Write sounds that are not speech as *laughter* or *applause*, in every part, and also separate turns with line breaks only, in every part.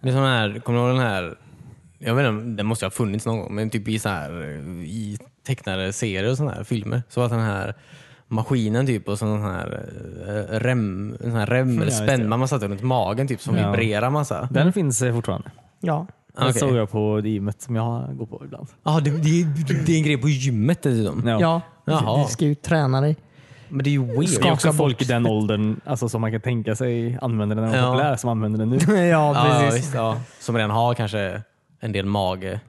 Med sån här, kommer du ihåg den här? Jag vet inte, den måste ha funnits någon gång, men typ i, så här, i tecknade serier och såna här filmer. Så att den här maskinen typ och sån här eh, rem, en sån här
just det.
remspänna man satte runt magen typ som
Ja.
vibrerar massa.
Den
Mm.
finns eh, fortfarande.
Ja.
Ah,
Den
okej.
såg jag på det gymmet som jag går på ibland.
Ja, det, det, det är en grej på gymmet dessutom.
Ja.
Ja.
Jaha.
Du ska ju träna dig.
Men det är ju
Det är
weird.
Skak-
också
skaka
folk
bort.
i den åldern alltså, som man kan tänka sig använder den när den var
Ja.
populär som använder den nu.
ja,
Ja,
precis.
visst, ja. Som redan har kanske en del mage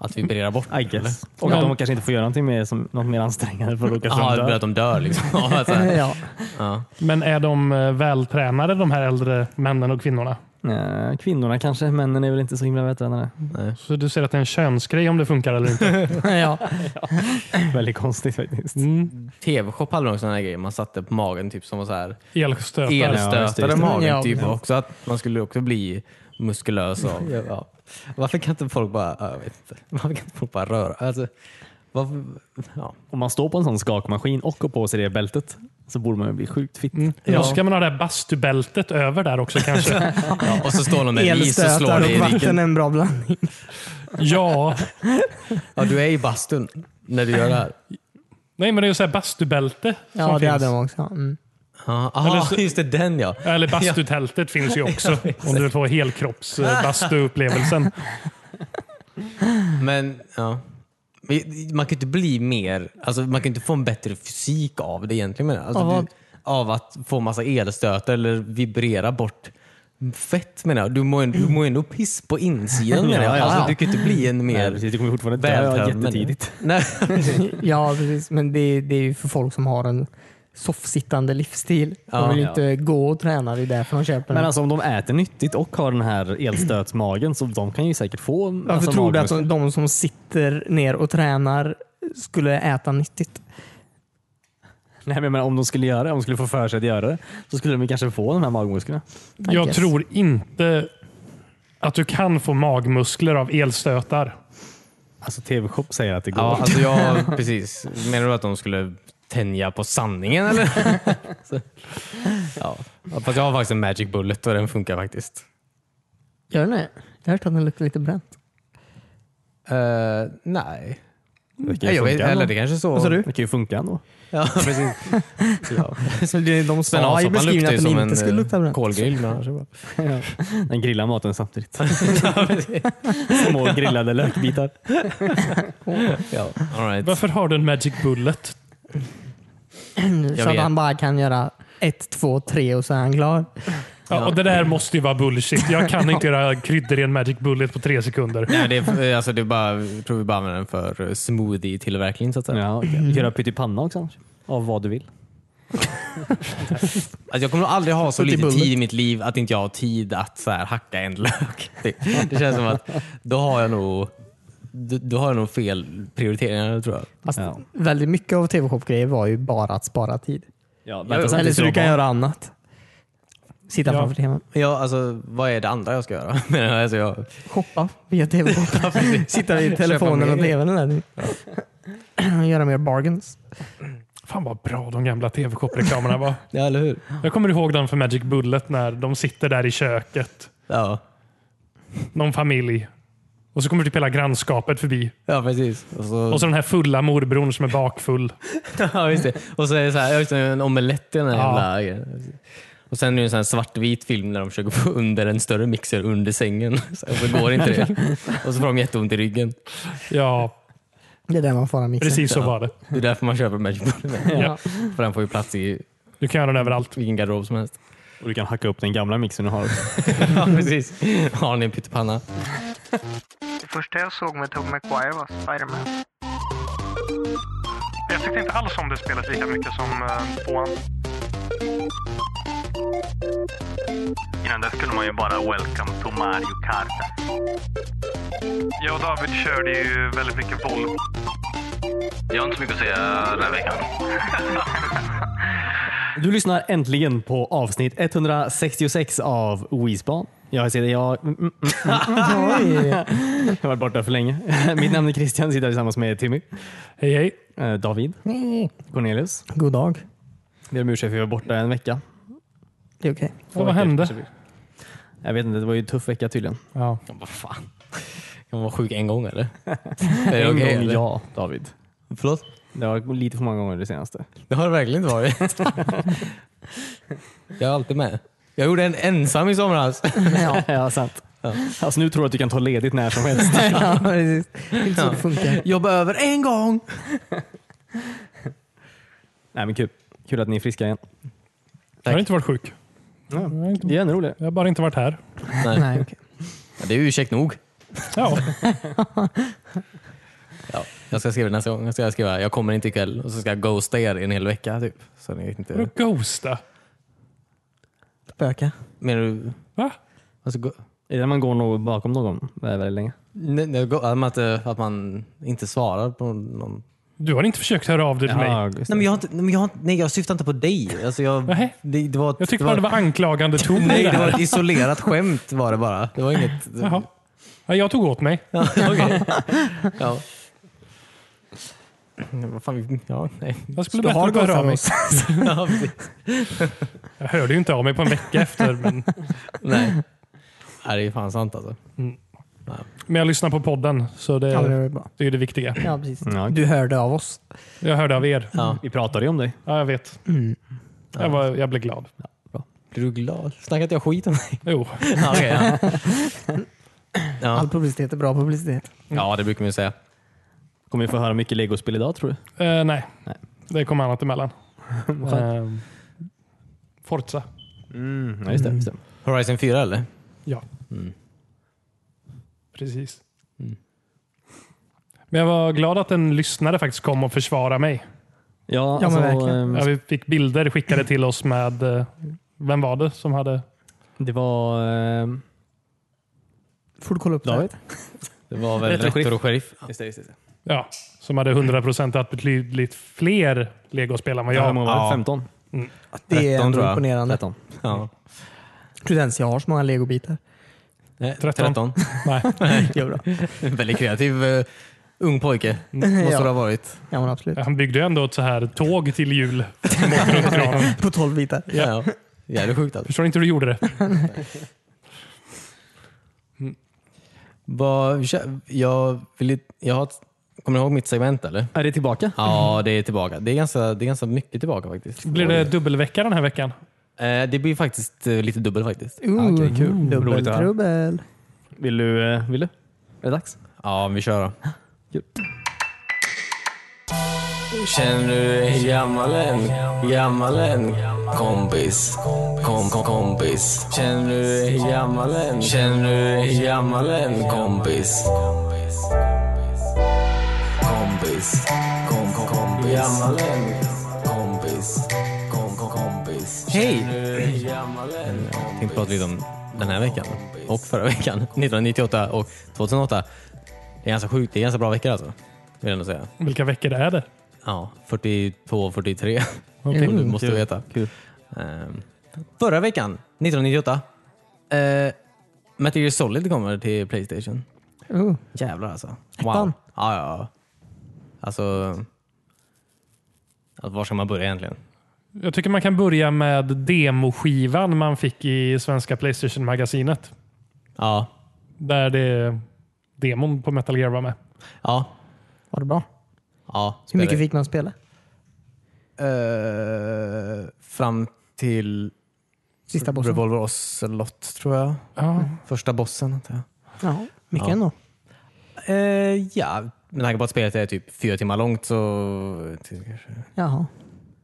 att vibrera bort.
I guess. Och
Ja.
att de kanske inte får göra någonting mer, som, något mer ansträngande för att åka
Jaha, det blir
sönder.
att de dör liksom. *laughs* Ja, så här.
*laughs* ja.
ja.
Men är de eh, vältränade de här äldre männen och kvinnorna?
Eh, Kvinnorna kanske, männen är väl inte så himla vältränade.
Så du ser att det är en könsgrej om det funkar
*laughs*
eller inte?
ja.
*laughs* Väldigt konstigt faktiskt.
Mm.
TV-shop hade de sådana här grejer man satte på magen typ som var så här
Elstötar.
Ja, just det, just
elstötade
det.
magen.
Ja,
typ
ja.
också att man skulle också bli muskulös av. *laughs* Ja. Varför kan inte folk bara, ja, jag vet inte. Varför kan inte folk bara röra? Alltså, varför, ja.
Om man står på en sån skakmaskin och går på sig det bältet så borde man ju bli sjukt fitt.
Då Mm. ska man ha det här bastubältet över där också
*laughs*
kanske.
Ja, och så står någon med ris och slår
Elstötar
dig i
och vatten
ryggen.
är en bra blandning.
ja.
Ja, du är i bastun när du gör det här.
Nej, men det är ju så här bastubälte som
Ja, det
finns.
hade de också. ja. Mm.
Ja, aha,
så-
just det, den ja.
Eller
*laughs*
bastutältet finns ju också. om du vill
*laughs*
få helkropps-bastuupplevelsen.
Men ja. Men Man kan ju inte bli mer, alltså man kan ju inte få en bättre fysik av det egentligen. menar jag. Alltså,
Av vad?
du, av att få massa elstötar eller vibrera bort fett menar jag. Du mår ju du mår ju ändå piss på insidan menar jag.
Ja, ja,
Alltså,
ja.
du kan ju inte bli en
Nej,
mer
precis, det kommer ju fortfarande dö
vältränad
jättetidigt. *laughs*
människa. Nej.
Ja, precis. Men det, det är ju för folk som har en soffsittande livsstil.
Ja.
De vill ju
Ja.
inte gå och träna. Det är därför de köper
Men
den.
alltså om de äter nyttigt och har den här elstötsmagen så de kan ju säkert få alltså, en
Varför
massa
tror du att
magmuskler.
de, de som sitter ner och tränar skulle äta nyttigt?
*laughs* Nej, men jag menar, om de skulle göra det, om de skulle få för sig att göra det, så skulle de ju kanske få de här magmusklerna.
I
Jag
guess.
tror inte att du kan få magmuskler av elstötar.
Alltså TV-shop säger att det går.
Ja, alltså jag, precis. Menar du att de skulle tänja på sanningen eller? *laughs* Så, ja. Ja, Fast jag har faktiskt en magic bullet och den funkar faktiskt.
Gör den det? Jag har hört att den luktar lite bränt.
Eh, nej.
det kan
Nej,
ju
jag vet,
funka ändå.
eller det kanske är så.
Vad sa du?
Det kan ju funka ändå.
Ja, precis. Ja.
Som det- De
Men
sa i
avsoppan luktar
beskrivningen
ju
att den
som
inte
en
skulle lukta
eh,
bränt.
kolgrill. men annars är det bra.
Den grillar maten
*laughs*
samtidigt. *laughs* Små grillade lökbitar.
*laughs* ja. All right.
Varför har du en magic bullet?
*clears throat* Så att
vet.
han bara kan göra ett, två, tre och så är han klar.
Ja, och det där måste ju vara bullshit. Jag
*laughs*
kan inte göra kryddor i en magic bullet på tre sekunder.
Nej, det är, eh, alltså, det är bara, jag tror vi bara använder den för eh, smoothie-tillverkning. Så att säga.
Ja, okay. Du kan göra pyttipanna också annars. Av vad du vill.
Alltså, jag kommer nog aldrig ha så
Putty
lite
bullet.
tid i mitt liv att inte jag har tid att så här, hacka en lök. *laughs* Typ. Det känns som att då har jag nog, då, då har jag nog fel prioriteringar tror jag.
Fast
Ja.
väldigt mycket av TV-shop-grejer var ju bara att spara tid.
Ja, vänta sen
Eller
tills
så du
de
kan
har-
göra annat. Sitta
Ja.
framför tvn.
Ja, alltså, vad är det andra jag ska göra? *laughs* Men, alltså, jag,
Shoppa via TV-shop. Sitta vid telefonen
mer.
och tvn. Där. *clears throat* Göra mer bargains.
Fan vad bra de gamla TV-shop-reklamerna var.
ja, eller hur?
Jag kommer ihåg den för Magic Bullet när de sitter där i köket.
Ja,
Någon familj. Och så kommer typ hela grannskapet förbi.
ja precis. Och så,
Och så den här fulla morbrorn som är bakfull.
*laughs* Ja, just det. Och så är det så här, ja, just det, en omelett i den här
Ja.
jävla grejen. Och sen är det en sån här svartvit film där de försöker få under en större mixer under sängen. *laughs* Så, och så går inte det. Och så får de jätteont i ryggen.
Ja,
Det är där man får en mixer.
precis så var det.
Det är därför man köper Magic Bullet.
Ja.
För den får ju plats i
Du kan göra den överallt.
vilken garderob som helst.
Och du kan hacka upp den gamla mixen du har. också.
Ja, *laughs* precis. Har ni en pyttipanna?
Det första jag såg med Tobey Maguire var Spider-Man.
Jag tyckte inte alls om det spelet lika mycket som tvåan.
Innan dess kunde man ju bara “Welcome to Mario Kart”.
Jag och David körde ju väldigt mycket Volvo.
Jag har inte så mycket att säga den här veckan.
Du lyssnar äntligen på avsnitt 166 av Weesban. Jag heter jag, mm, mm,
Oj.
jag har varit borta för länge. *laughs* Mitt namn är Christian, sitter här tillsammans med Timmy,
Hej hej.
eh, David, Cornelius.
God dag.
Vi ber om ursäkt för att vi var borta en vecka.
Det är okej.
Två
Och vad
veckor
hände?
kanske vi- Jag vet inte, det var ju en tuff vecka tydligen.
Ja.
Ja, Vad fan. Kan man vara sjuk en gång eller? Är det okej,
en gång
eller?
ja, David.
Förlåt?
Det var lite för många gånger det senaste.
Det har det verkligen inte varit. jag är alltid med. Jag gjorde en ensam i somras.
Ja,
ja, sant. Alltså nu tror du att du kan ta ledigt när som
*laughs*
helst.
ja precis. Det är inte så det funkar.
Jag behöver en gång.
Nej men kul. Kul att ni är friska igen.
Jag har inte varit sjuk.
Det är ännu roligare.
Jag har bara inte varit här.
Nej.
Nej, okej.
Ja, det är ju ursäkt nog.
Ja.
Ja, jag ska skriva det nästa gång. Jag ska skriva jag kommer inte ikväll och så ska jag ghosta er i en hel vecka. Typ. Så ni vet
Vadå
inte.
ghosta?
Spöka.
Menar du?
Va?
Alltså, go-
Är det när man går något bakom någon väldigt, väldigt länge?
nej, nej, go- att, eh, att man inte svarar på någon...
Du har inte försökt höra av dig till mig?
just det.
Nej, men jag, har inte- nej, men jag, har inte- nej, jag syftar inte på dig. Alltså, jag,
Nej.
det, det var, ett-
Jag tyckte bara det var anklagande ton i
Nej,
det
det var
här.
ett isolerat skämt var det bara. Det var inget...
Jaha. Ja, jag tog åt mig.
Ja, okej. ja. Vad fan, vi- ja, nej.
Jag skulle
Du har
bättre
gått
höra av
av
mig.
oss.
*laughs* Ja, precis.
Jag hörde ju inte av mig på en vecka efter. Men,
nej. Nej, det är fan sant alltså.
men jag lyssnar på podden, så
Ja, men det
det,
var bra.
det är det viktiga.
Ja, precis.
Ja.
Du hörde av oss.
Jag hörde av er.
Ja.
Vi pratade ju om dig.
Ja, jag vet. Jag, var, jag blev glad.
Blir du glad? Snackar inte jag skit om dig?
Jo.
Ja, okej, ja.
All
Ja.
publicitet är bra publicitet.
ja, det brukar man ju säga.
Kommer vi få höra mycket legospel idag tror du?
Eh, nej.
Nej.
det kom annat emellan. Eh, Forza.
Mm, ja, just det. Just det.
Horizon 4 eller?
Ja,
Mm.
precis.
Mm.
Men jag var glad att en lyssnare faktiskt kom och försvarade
Ja,
mig.
Ja, men
alltså,
verkligen.
ehm,
Ja, vi fick bilder skickade till oss med, eh, vem var det som hade?
det var... ehm,
Får du kolla upp det?
David?
Det var väl
Rektor och
rektor och sheriff?
Just det, just det.
Ja, som hade 100% haft betydligt fler legospel än vad
Ja, hur
jag
många var det?
Ja.
15?
Det är
13
ändå
tror jag.
imponerande.
13?
Ja.
Tror du ens jag har så många legobitar?
Nej,
13.
13.
Nej.
*laughs* Det är bra.
*laughs* Väldigt kreativ eh, ung pojke. Måste
Ja.
det ha varit.
Ja, men absolut.
Han byggde ju ändå ett så här tåg till jul. som åkte runt granen.
På 12 bitar.
Ja. ja. Jävligt sjukt alltså.
Förstår inte hur du gjorde det.
*laughs* Vad- Jag, vill, ju- jag har, ett- kommer du ihåg mitt segment eller?
Är det tillbaka?
Ja, det är tillbaka. Det är ganska, det är ganska mycket tillbaka faktiskt.
Blir det dubbelvecka den här veckan?
Eh, det blir faktiskt eh, lite dubbel faktiskt.
Ooh,
okej, kul. Roligt att höra.
Dubbeltrubbel.
Vill du? eh, Vill du? Är det dags?
Ja, vi kör då.
Kul.
Känner du dig gammal än? Gammal än? Kompis. Kom, kom, kompis. Känner du dig gammal än? Känner du dig gammal än? Kompis. Kompis. Kom, kom, kompis. Gammal än? Kompis. Kom, kom, kompis. Hej! Tänkte prata lite om den här veckan och förra veckan. *laughs* 1998 och 2008. Det är ganska sjukt. Det är ganska bra veckor alltså. Vill jag ändå säga.
Vilka veckor det är det?
Ja, 42, 43. *laughs*
Okej.
Du måste veta.
Kul.
Ehm, förra veckan, 1998, uh, Metal Gear Solid kommer till Playstation.
Ooh.
Jävlar alltså.
Ettan.
Ja, ja, ja. Alltså, alltså, var ska man börja egentligen?
Jag tycker man kan börja med demoskivan man fick i svenska Playstation-magasinet.
Ja,
Där det demon på Metal Gear var med.
ja,
Var det bra?
ja.
Hur
spelar
mycket
det.
fick man spela?
Eh, fram till
Sista bossen?
Revolver Ocelot tror jag.
Ja.
Första bossen antar jag.
Ja, mycket
Ja.
ändå.
Eh, ja, med tanke på att spelet är typ fyra timmar långt så
Jaha.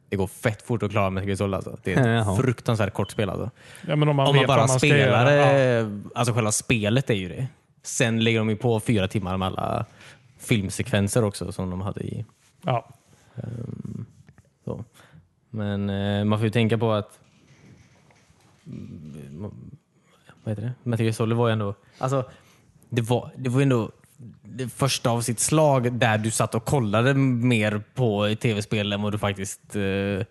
det går fett fort att klara Metal Gear Solid. Alltså. Det är ett
Jaha.
fruktansvärt kort spel. Alltså.
Ja, men om man,
Om man
vet
bara
vad man ska
spelar
göra. Ja.
det, alltså själva spelet är ju det. Sen lägger de ju på fyra timmar med alla filmsekvenser också som de hade i.
Ja.
Så. Men eh, man får ju tänka på att Mm, vad heter det? Metal Gear Solid var ju ändå, alltså, det var, det var ju ändå det första av sitt slag där du satt och kollade mer på ett tv-spel än vad du faktiskt eh,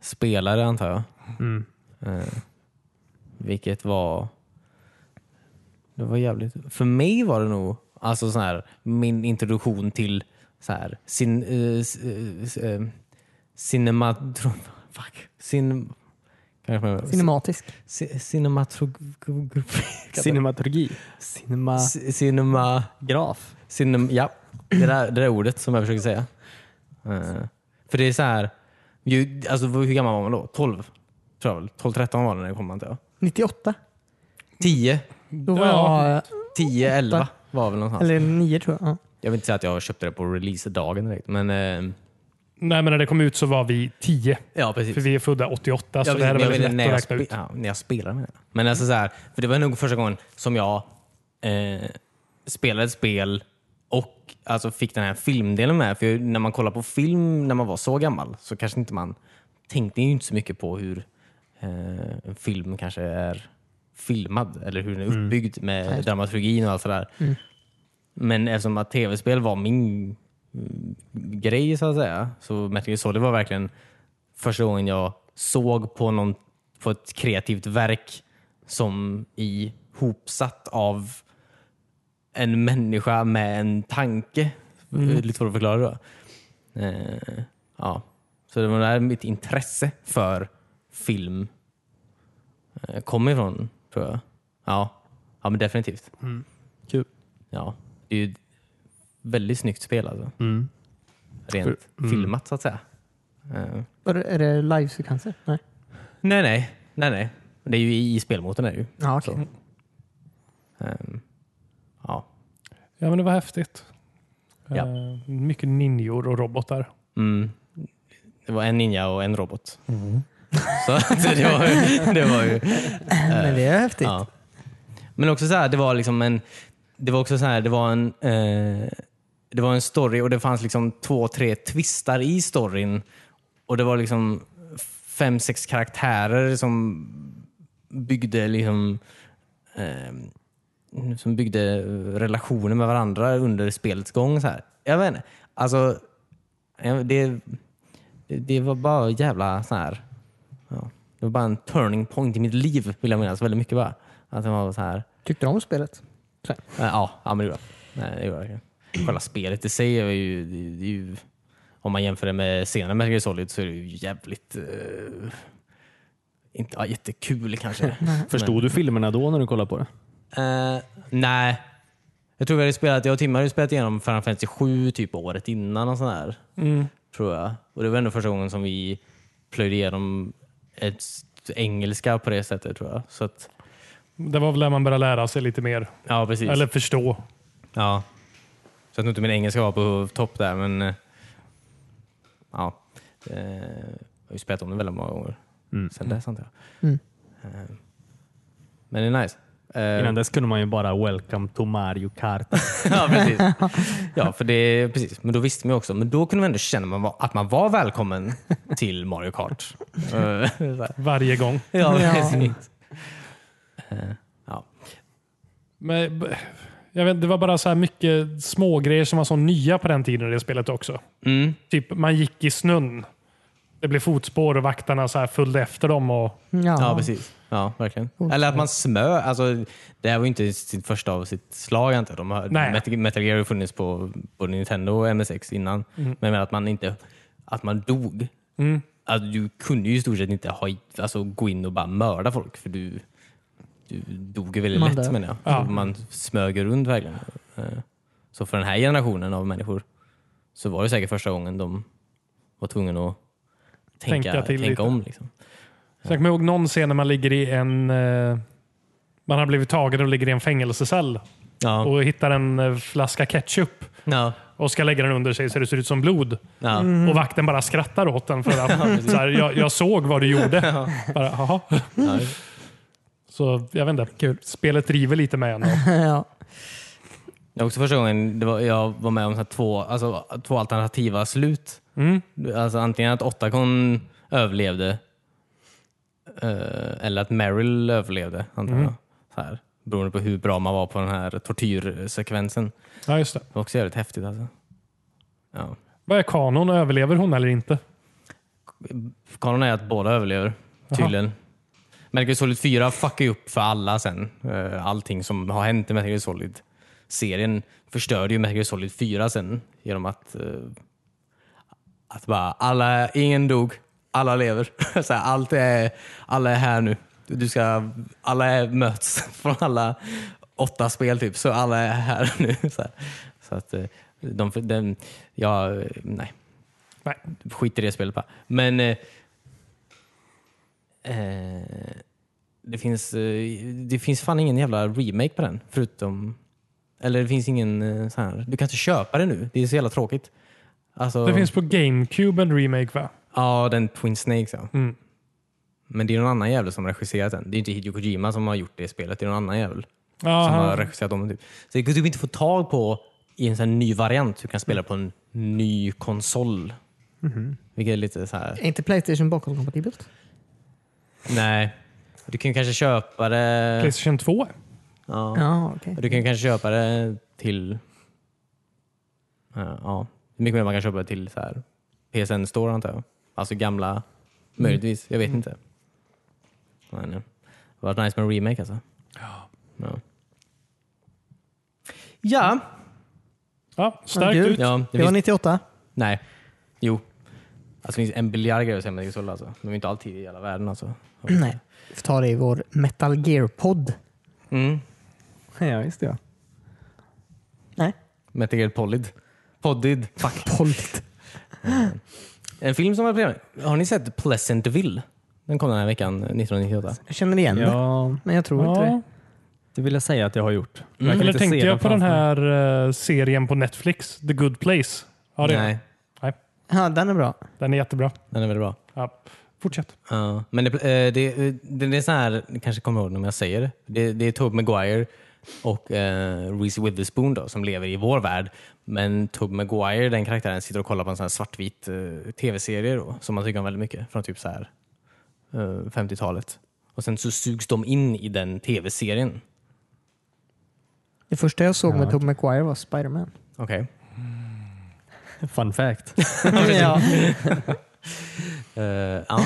spelade antar jag. Eh, vilket var... Det var jävligt... För mig var det nog alltså så här, min introduktion till så här, sin, *laughs* eh, s- eh, s- eh, cinematron... Fuck. Sin, kan Kanske man-
Cinematisk.
C- Cinematograf...
Cinematurgi. Cinematograf.
C- *laughs* Cinema... Cinem, ja, det där, det där ordet som jag försöker säga. Eh, för det är så här, ju, alltså, hur gammal var man då? 12? tror jag väl. 12-13 var det när jag kom antar jag.
98.
10,
Då var
Ja.
jag,
10, 11 var väl någonstans.
eller 9 tror jag. Ja.
Jag vill inte säga att jag köpte det på releasedagen direkt, men eh,
Nej, men när det kom ut så var vi 10.
ja precis.
För vi är födda 88, så
Jag
Alltså, det här är
vet- jag
väldigt
vet
lätt
när
att
jag
räkna
spe-
ut.
Ja, när jag spelade med det. Men alltså så här, för det var nog första gången som jag eh, spelade ett spel och alltså fick den här filmdelen med. För jag- när man kollar på film när man var så gammal så kanske inte man tänkte ju inte så mycket på hur eh, en film kanske är filmad eller hur den är
Mm.
uppbyggd med dramaturgin och allt sådär. Men eftersom att tv-spel var min mm, grej så att säga, så Metal Gear Solid var verkligen första gången jag såg på, någon, på ett kreativt verk som i hopsatt av en människa med en tanke. Det är Lite svårt att förklara då. Eh, ja. Så det var där mitt intresse för film eh, kom ifrån, tror jag. Ja, ja men definitivt.
Kul.
Ja, det är ju ett väldigt snyggt spel alltså.
Mm.
Rent filmat så att säga. Eh,
Var det- Är det livesekvenser? Nej.
Nej, nej. nej, nej. Det är ju i, i spelmotorn. Är det ju.
Ja, okej.
Ehm, ja.
Ja, men det var häftigt.
Ja.
Eh, mycket ninjor och robotar.
Mm. Det var en ninja och en robot. Så *laughs* att det var ju... Det var ju
Men det är häftigt.
Eh, ja. Men också så här, det var liksom en... Det var också så här, det var en... Eh, det var en story och det fanns liksom två, tre twistar i storyn. Och det var liksom fem, sex karaktärer som byggde liksom... ehm, som byggde eh, relationer med varandra under spelets gång. Så här. Jag vet inte. Alltså, eh, det, det var bara jävla så här. Ja. Det var bara en turning point i mitt liv vill jag minnas väldigt mycket bara. Att det var så här.
Tyckte du om spelet?
eh, Ja, ja men det gjorde jag. Nej, det gjorde jag. verkligen. Själva spelet i sig är ju, det, är- det är ju om man jämför det med senare Metal Gear Solid så är det ju jävligt eh, inte ja, jättekul kanske.
Förstod du filmerna då när du kollade på det?
Eh, nej. Jag tror vi hade spelat, jag och Tim hade spelat igenom Final Fantasy 7 typ året innan och sådär. Tror jag. Och det var ändå första gången som vi plöjde igenom ett s- engelska på det sättet tror jag. Så att,
Det var väl där man började lära sig lite mer.
ja, precis.
Eller förstå.
Ja. Så att inte min engelska var på topp där, men eh, ja. Eh, Jag har ju spelat om det väldigt många gånger sen dess antar jag.
Mm.
Eh, Men det är nice. Eh,
Innan dess kunde man ju bara “Welcome to Mario Kart”.
*laughs* ja, precis. Ja, för det, precis. Men då visste man ju också, men då kunde man ändå känna man var, att man var välkommen till Mario Kart. Eh, *laughs* så här.
Varje gång.
ja,
Ja.
precis. Eh, Ja.
Men, b- jag vet, det var bara så här mycket smågrejer som var så nya på den tiden i det spelet också.
Mm.
Typ man gick i snön. Det blev fotspår och vakterna så här följde efter dem. Och,
Ja, precis. Ja, verkligen.
Coolt.
Eller att man smö. Alltså, det här var ju inte sitt första av sitt slag. Inte. De har,
Nej.
Metal, Metal Gear har ju funnits på både Nintendo och MSX innan.
Mm.
Men jag menar att man inte att man dog. Alltså, du kunde ju i stort sett inte ha, alltså, gå in och bara mörda folk. För du, du dog ju väldigt
Man
lätt
dör.
menar jag.
Ja.
Så Man smög ju runt verkligen. Eh, Så för den här generationen av människor så var det säkert första gången de var tvungna att tänka,
Tänka
tänka,
till lite.
om. Liksom.
så jag kommer ihåg någon scen när man ligger i en... eh, Man har blivit tagen och ligger i en fängelsecell
Ja.
och hittar en eh, flaska ketchup
ja.
och ska lägga den under sig så det ser ut som blod.
Ja.
Och vakten bara skrattar åt den. För att, så här, jag, jag såg vad du gjorde. Bara, "Jaha."
Ja.
så jag vet inte. Spelet driver lite med en.
*laughs* ja.
Det var också första gången det var, jag var med om så här två, alltså, två alternativa slut.
Mm.
Alltså antingen att Otacon överlevde eh, eller att Meryl överlevde, antar jag. Så här, beroende på hur bra man var på den här tortyrsekvensen.
Ja, just det.
Det var också jävligt häftigt. Alltså. Ja.
Vad är kanon? Överlever hon eller inte?
Kanon är att båda överlever, tydligen. Metal Gear Solid 4 fuckar ju upp för alla sen. Eh, Allting som har hänt i Metal Gear Solid. Serien förstörde ju Metal Gear Solid 4 sen genom att, eh, att bara alla, ingen dog, alla lever. *laughs* Så här, allt är, alla är här nu. Du ska, alla är, möts *laughs* från alla åtta spel typ, så alla är här *laughs* nu. Så, här. så att eh, de, den, ja, eh, nej.
Nej.
Skit i det spelet bara. Men eh, eh, det finns, eh, det finns fan ingen jävla remake på den. Förutom, eller det finns ingen eh, så här, du kan inte köpa det nu. Det är så jävla tråkigt. Alltså,
Det finns på GameCube en remake va?
Ja, den Twin Snakes ja.
Mm.
Men det är någon annan jävel som har regisserat den. Det är inte Hideo Kojima som har gjort det spelet. Det är någon annan jävel
Ja,
som
han-
har regisserat om det. Typ. Så det går typ inte att få tag på i en sån här ny variant. Du kan spela på en ny konsol. Vilket är lite så här.
Är inte Playstation bakåtkompatibelt?
Nej. Du kan ju kanske köpa det...
Playstation 2?
Ja.
Ja, okej.
Du kan kanske köpa det till... eh, ja. Hur mycket mer man kan köpa det till så här, PSN Store antar jag. Alltså gamla, möjligtvis. Jag vet inte. Men, eh, det hade varit nice med en remake alltså. Ja. Ja.
Ja, starkt
Ja, du-
ut.
ja det
Det
finns-
var 98.
Nej. Jo. Alltså, det finns en biljard grejer att säga med Exol alltså. De är inte alltid i hela världen alltså.
*clears throat* Nej. Vi får ta det i vår Metal Gear-podd.
Mm.
Ja, visst ja.
Nej.
Metal Polid. Poddid. Fuck.
*laughs* Pollet.
En film som var premiär. Har ni sett Pleasantville? Den kom den här veckan, 1998.
Jag känner igen
*laughs*
det,
Ja,
men jag tror inte det.
Ja.
det vill jag säga att jag har gjort. Jag
Mm.
kan
Eller
inte se
tänkte jag på den
framför mig.
här eh, serien på Netflix, The Good Place? Ja, det är
Nej,
Ja, den är bra.
Den är jättebra.
den är väldigt bra.
Ja. Fortsätt.
Ja, men det, eh, det, eh, det, det är så här, ni kanske kommer ihåg när jag säger det. Det, det är Tobey Maguire och eh, Reese Witherspoon då, som lever i vår värld. Men Tobey Maguire, den karaktären, sitter och kollar på en sån här svartvit eh, tv-serie då, som man tycker om väldigt mycket, från typ så här eh, 50-talet. Och sen så sugs de in i den tv-serien.
Det första jag såg med Tobey Maguire var Spiderman.
Okej.
Fun fact.
*laughs*
*laughs*
ja.
Eh, ja.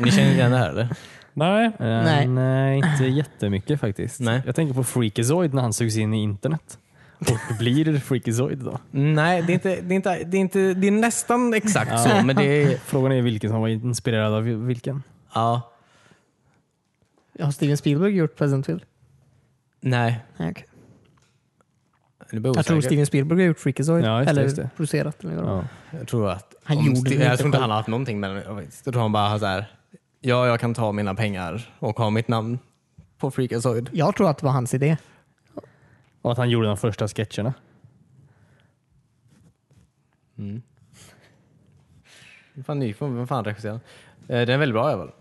Ni känner igen det här eller?
Nej,
Eh,
Nej.
Nej, inte jättemycket faktiskt.
Nej.
Jag tänker på Freakazoid när han sugs in i internet och blir Freakazoid då.
Nej, det är, inte, det, är inte, det, är inte, det är nästan exakt
Ja.
så. Men det är,
Frågan är vilken som var inspirerad av vilken.
ja,
Har Steven Spielberg gjort Pleasantville?
nej.
Nej, okej.
Det blir
Jag tror
osäkert.
Steven Spielberg har gjort Freakazoid.
Ja, just det,
eller
just det.
producerat. Eller ja.
Ja.
Jag tror att
Han
om
gjorde
Ste-
det
Jag
inte
tror inte
själv.
han har haft någonting med den. Jag vet inte. Jag tror han bara har så här. Ja, jag kan ta mina pengar och ha mitt namn på Freakazoid.
Jag tror att det var hans idé.
Och att han gjorde de första sketcherna.
Mm.
Fan, ny, vem fan regisserar den? Eh, Den är väldigt bra i alla fall.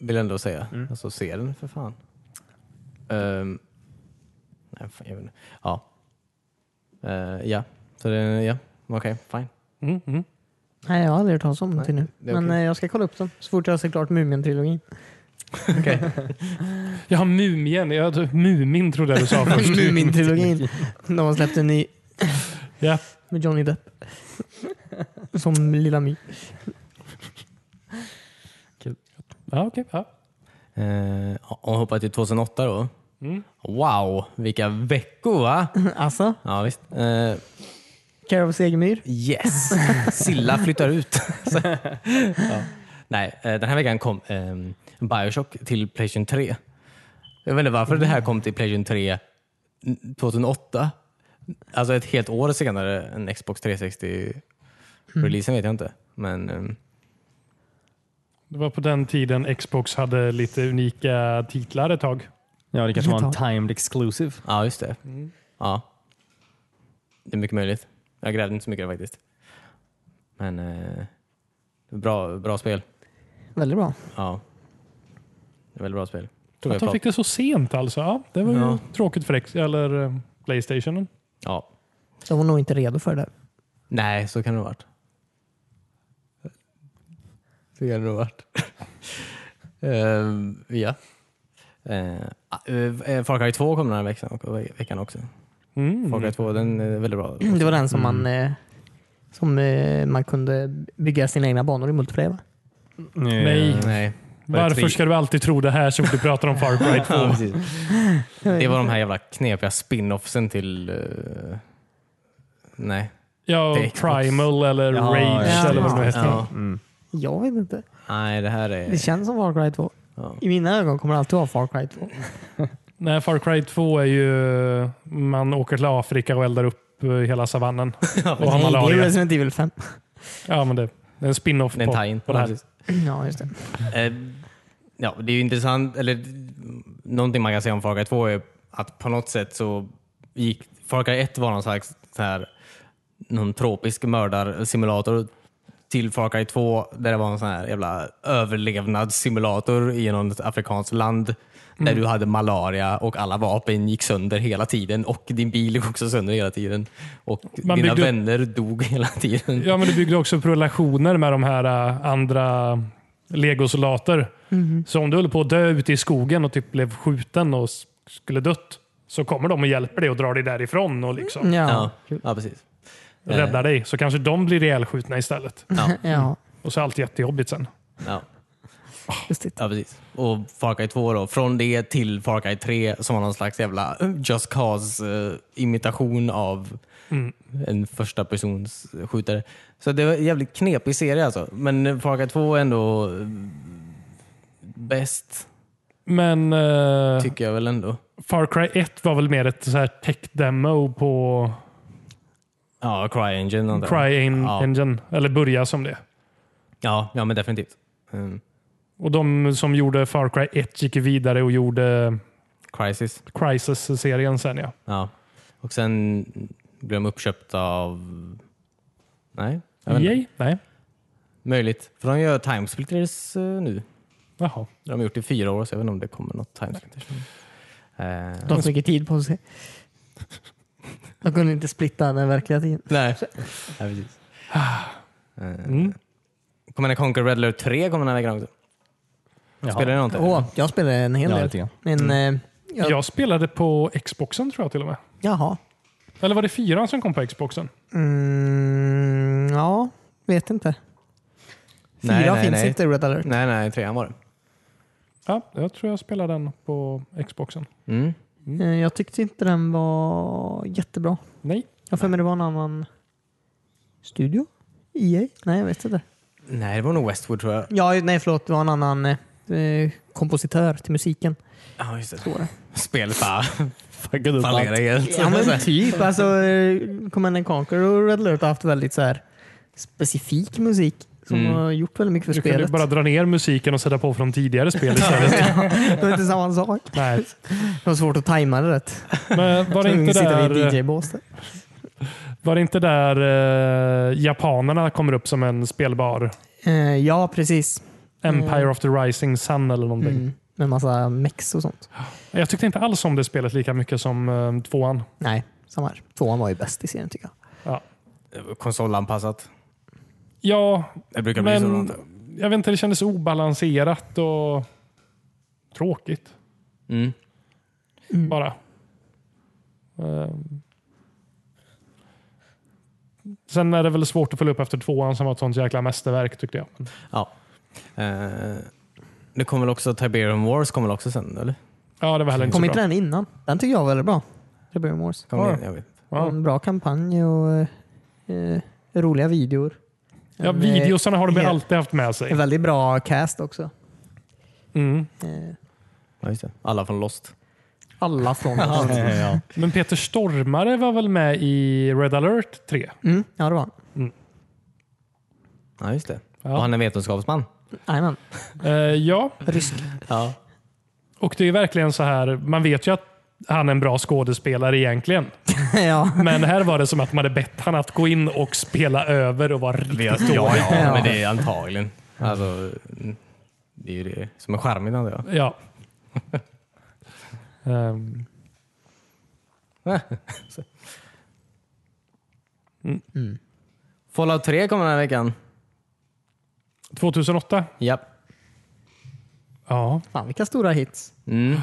Vill ändå säga.
Mm.
Alltså se den för fan. Ehm, nej, fan jag vet inte. Ja. Eh, ja, så det, ja. Okej, fine.
Mm, mm.
Nej, jag har aldrig hört talas om den
Nej,
till nu.
det är okej.
Men eh, jag ska kolla upp den så fort jag har sett klart *laughs* Mumien-trilogin.
Okej.
Jag har Mumien. Jag, mumin trodde jag du
*laughs*
sa
*laughs*
först.
Mumien-trilogin. De har släppt en ny
Ja.
med Johnny Depp. Som Lilla My.
Ja, okej. ja.
Eh, och hoppa till 2008 då.
Mm.
Wow, vilka veckor va?
*laughs* Alltså,
Ja visst. Eh,
Care of Segemyhr.
Yes! Silla flyttar ut. Så, ja. Nej, eh, den här veckan kom ehm, Bioshock till Playstation 3. Jag vet inte varför det här kom till Playstation 3 n- 2008. Alltså ett helt år senare än Xbox 360-releasen vet jag inte. Men ehm,
Det var på den tiden Xbox hade lite unika titlar ett tag.
Ja, det kanske var en
Ja.
timed exclusive.
ja, just det. Ja. Det är mycket möjligt. Jag grävde inte så mycket faktiskt. Men eh, bra, bra spel.
Väldigt bra.
Ja. Det är väldigt bra spel. Tror
Att
jag
de fick det så sent alltså. Ja, det var ju
Ja.
tråkigt för X eller eh, Playstation.
Ja.
De var nog inte redo för det.
Nej, så kan det ha varit. *laughs* Så kan det ha varit. *laughs* Ehm, ja. Uh, Far Cry 2 kommer den här veckan, veckan också.
Mm.
Far Cry 2 den är väldigt *clears throat* bra.
Det var den som man eh, som eh, man kunde bygga sina egna banor i multiplayer va?
Eh,
Nej.
Nej.
Varför ska du alltid tro det här så fort du pratar om
*laughs*
Far Cry 2?
Ja, precis. Det var de här jävla knepiga spin-offsen till... eh, nej.
Ja,
Det är Xbox.
Primal eller
Ja,
Rage
ja,
eller vad
ja.
det nu heter.
Ja.
Mm.
Jag vet inte.
Nej, det här
Det
är...
känns som Far Cry 2.
Ja.
I mina ögon kommer det alltid vara Far Cry 2.
Nej, Far Cry 2 är ju... Man åker till Afrika och eldar upp eh, hela savannen. och har
Nej, det är
malaria.
Resident Evil 5.
Ja, men det, det är en spin-off
Det är en
på,
tie-in.
på
Ja,
det här.
precis.
*clears throat* Ja, just det.
Eh, ja, det är ju intressant, eller någonting man kan säga om Far Cry 2 är att på något sätt så gick Far Cry 1 var någon slags så här, någon tropisk mördarsimulator till Far Cry 2 där det var en sån här jävla överlevnadssimulator i något afrikanskt land
Mm.
där du hade malaria och alla vapen gick sönder hela tiden och din bil gick också sönder hela tiden och dina
Man byggde upp-
vänner dog hela tiden.
Ja, men du byggde också upp relationer med de här eh, andra legosoldater. Så om du höll på att dö ute i skogen och typ blev skjuten och s- skulle dött så kommer de och hjälper dig och drar dig därifrån och liksom
Ja,
Ja.
ja precis. Eh,
räddar dig. Så kanske de blir ihjälskjutna istället.
Ja.
*laughs* Ja,
Och så är allt jättejobbigt sen.
Ja.
lustigt.
Ja, precis. Och Far Cry 2 då. Från det till Far Cry 3 som var någon slags jävla eh, Just Cause-imitation av en första persons skjutare. Så det var en jävligt knepig serie alltså. Men Far Cry 2 är ändå eh, bäst,
Men eh,
tycker jag väl ändå.
Far Cry 1 var väl mer ett så här tech-demo på
Ja, Cry Engine antar jag.
Cry en-
Ja.
Engine. Eller börja som det.
Ja, ja, men definitivt. Mm.
Och de som gjorde Far Cry 1 gick ju vidare och gjorde
Crisis.
Crisis-serien sen ja.
Ja. Och sen blev de uppköpta av... Nej, jag vet inte.
Yay? Nej.
Möjligt. För de gör Timesplitters eh, nu.
Jaha.
Det har de gjort i fyra år, så jag vet inte om det kommer något timesplitters. Eh,
De har så mycket tid på sig. De kunde inte splitta den verkliga tiden.
nej. *laughs* ja, precis. Eh, kommer ni Conquer Red Alert 3 kommer den här veckan också? Spelar ni någonting?
Åh, jag spelade en hel
Ja,
del.
lite grann.
Men, eh, jag,
Jag spelade på Xboxen tror jag till och med.
Jaha.
Eller var det fyran som kom på Xboxen?
Mm, ja, vet inte. Fyra
Nej, nej,
finns
nej.
inte i Red Alert.
Nej, nej, trean var det.
Ja, jag tror jag spelade den på Xboxen.
Mm.
Eh, Jag tyckte inte den var jättebra.
Nej.
Jag har för mig det var en annan studio? EA? Nej, jag vet inte.
Nej, det var nog Westwood tror jag.
Ja, nej förlåt. Det var en annan eh, eh, kompositör till musiken.
Ja, just det.
Står det.
*laughs* Spelet bara
Fuckade upp
fallerade
allt.
helt.
Ja, men typ. Alltså, eh, Command and Conquer och Red Alert har haft väldigt så här, specifik musik som
Mm.
har gjort väldigt mycket för
Du kunde
spelet.
bara dra ner musiken och sätta på från tidigare spel
*laughs*
istället.
det var inte samma sak.
Nej.
Det var svårt att tajma det rätt.
Men var det
Tvungen
inte
att sitta vid ett
där,
DJ-bås. där.
var det inte där eh, japanerna kommer upp som en spelbar?
Eh, ja, precis.
Empire
Mm.
of the Rising Sun eller någonting.
Mm. Med massa mex och sånt.
Jag tyckte inte alls om det spelet lika mycket som eh, tvåan.
Nej, samma här. Tvåan var ju bäst i serien tycker jag.
Konsolanpassat.
Ja,
Det brukar bli så.
men
antar jag.
jag vet inte, det kändes obalanserat och tråkigt
Mm.
bara. Ehm. Sen är det väl svårt att följa upp efter tvåan som var ett sånt jäkla mästerverk tyckte jag.
Ja. Eh, det kommer väl också Tiberium Wars kommer väl också sen, eller?
Ja, det var heller inte
Kom
så
inte
bra.
den innan? Den tycker jag var väldigt bra. Rebellion Wars.
Kommer
Ja.
ni- jag vet.
Ja.
En bra kampanj och eh, roliga videor.
Ja,
En, eh,
videosarna har de
helt-
alltid haft med
En
sig.
väldigt bra cast också.
Mm.
Eh,
Ja, just det. Alla från Lost.
alla *laughs* från
Ja.
Men Peter Stormare var väl med i Red alert 3?
mm, Ja, det var han.
Ja, just det.
Ja.
Och han är vetenskapsman.
Jajamän. *laughs*
Eh, ja,
Rysk.
Ja.
och det är verkligen så här. Man vet ju att han är en bra skådespelare egentligen.
ja.
Men här var det som att man hade bett han att gå in och spela över och vara riktigt
Ja,
dålig.
ja,
Ja.
men det är antagligen. Alltså, mm, det är ju det som är charmigt antar jag.
Ja. Ehm,
Fallout 3 kommer den här veckan.
2008?
Japp.
Ja.
Fan vilka stora hits.
Mm.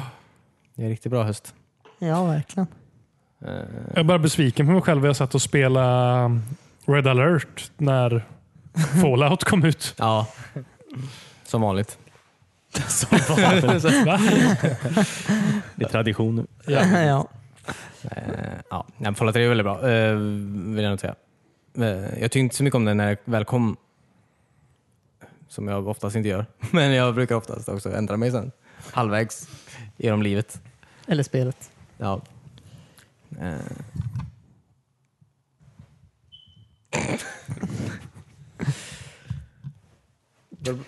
Det är riktigt bra höst. Eh,
Ja, verkligen.
Jag bara besviken på mig själv. Jag satt och spelade um, Red alert när Fallout
*laughs*
kom ut.
Ja. Som vanligt.
Eh,
Det är tradition nu.
*laughs* ja.
Eh, ja. Nej, men Fallout 3 är väldigt bra, eh, vill jag nog säga. Eh, jag tyckte inte så mycket om den när jag väl kom. Som jag oftast inte gör. *laughs* Men jag brukar oftast också ändra mig sen. Halvvägs genom livet.
Eller spelet.
Ja. Eh.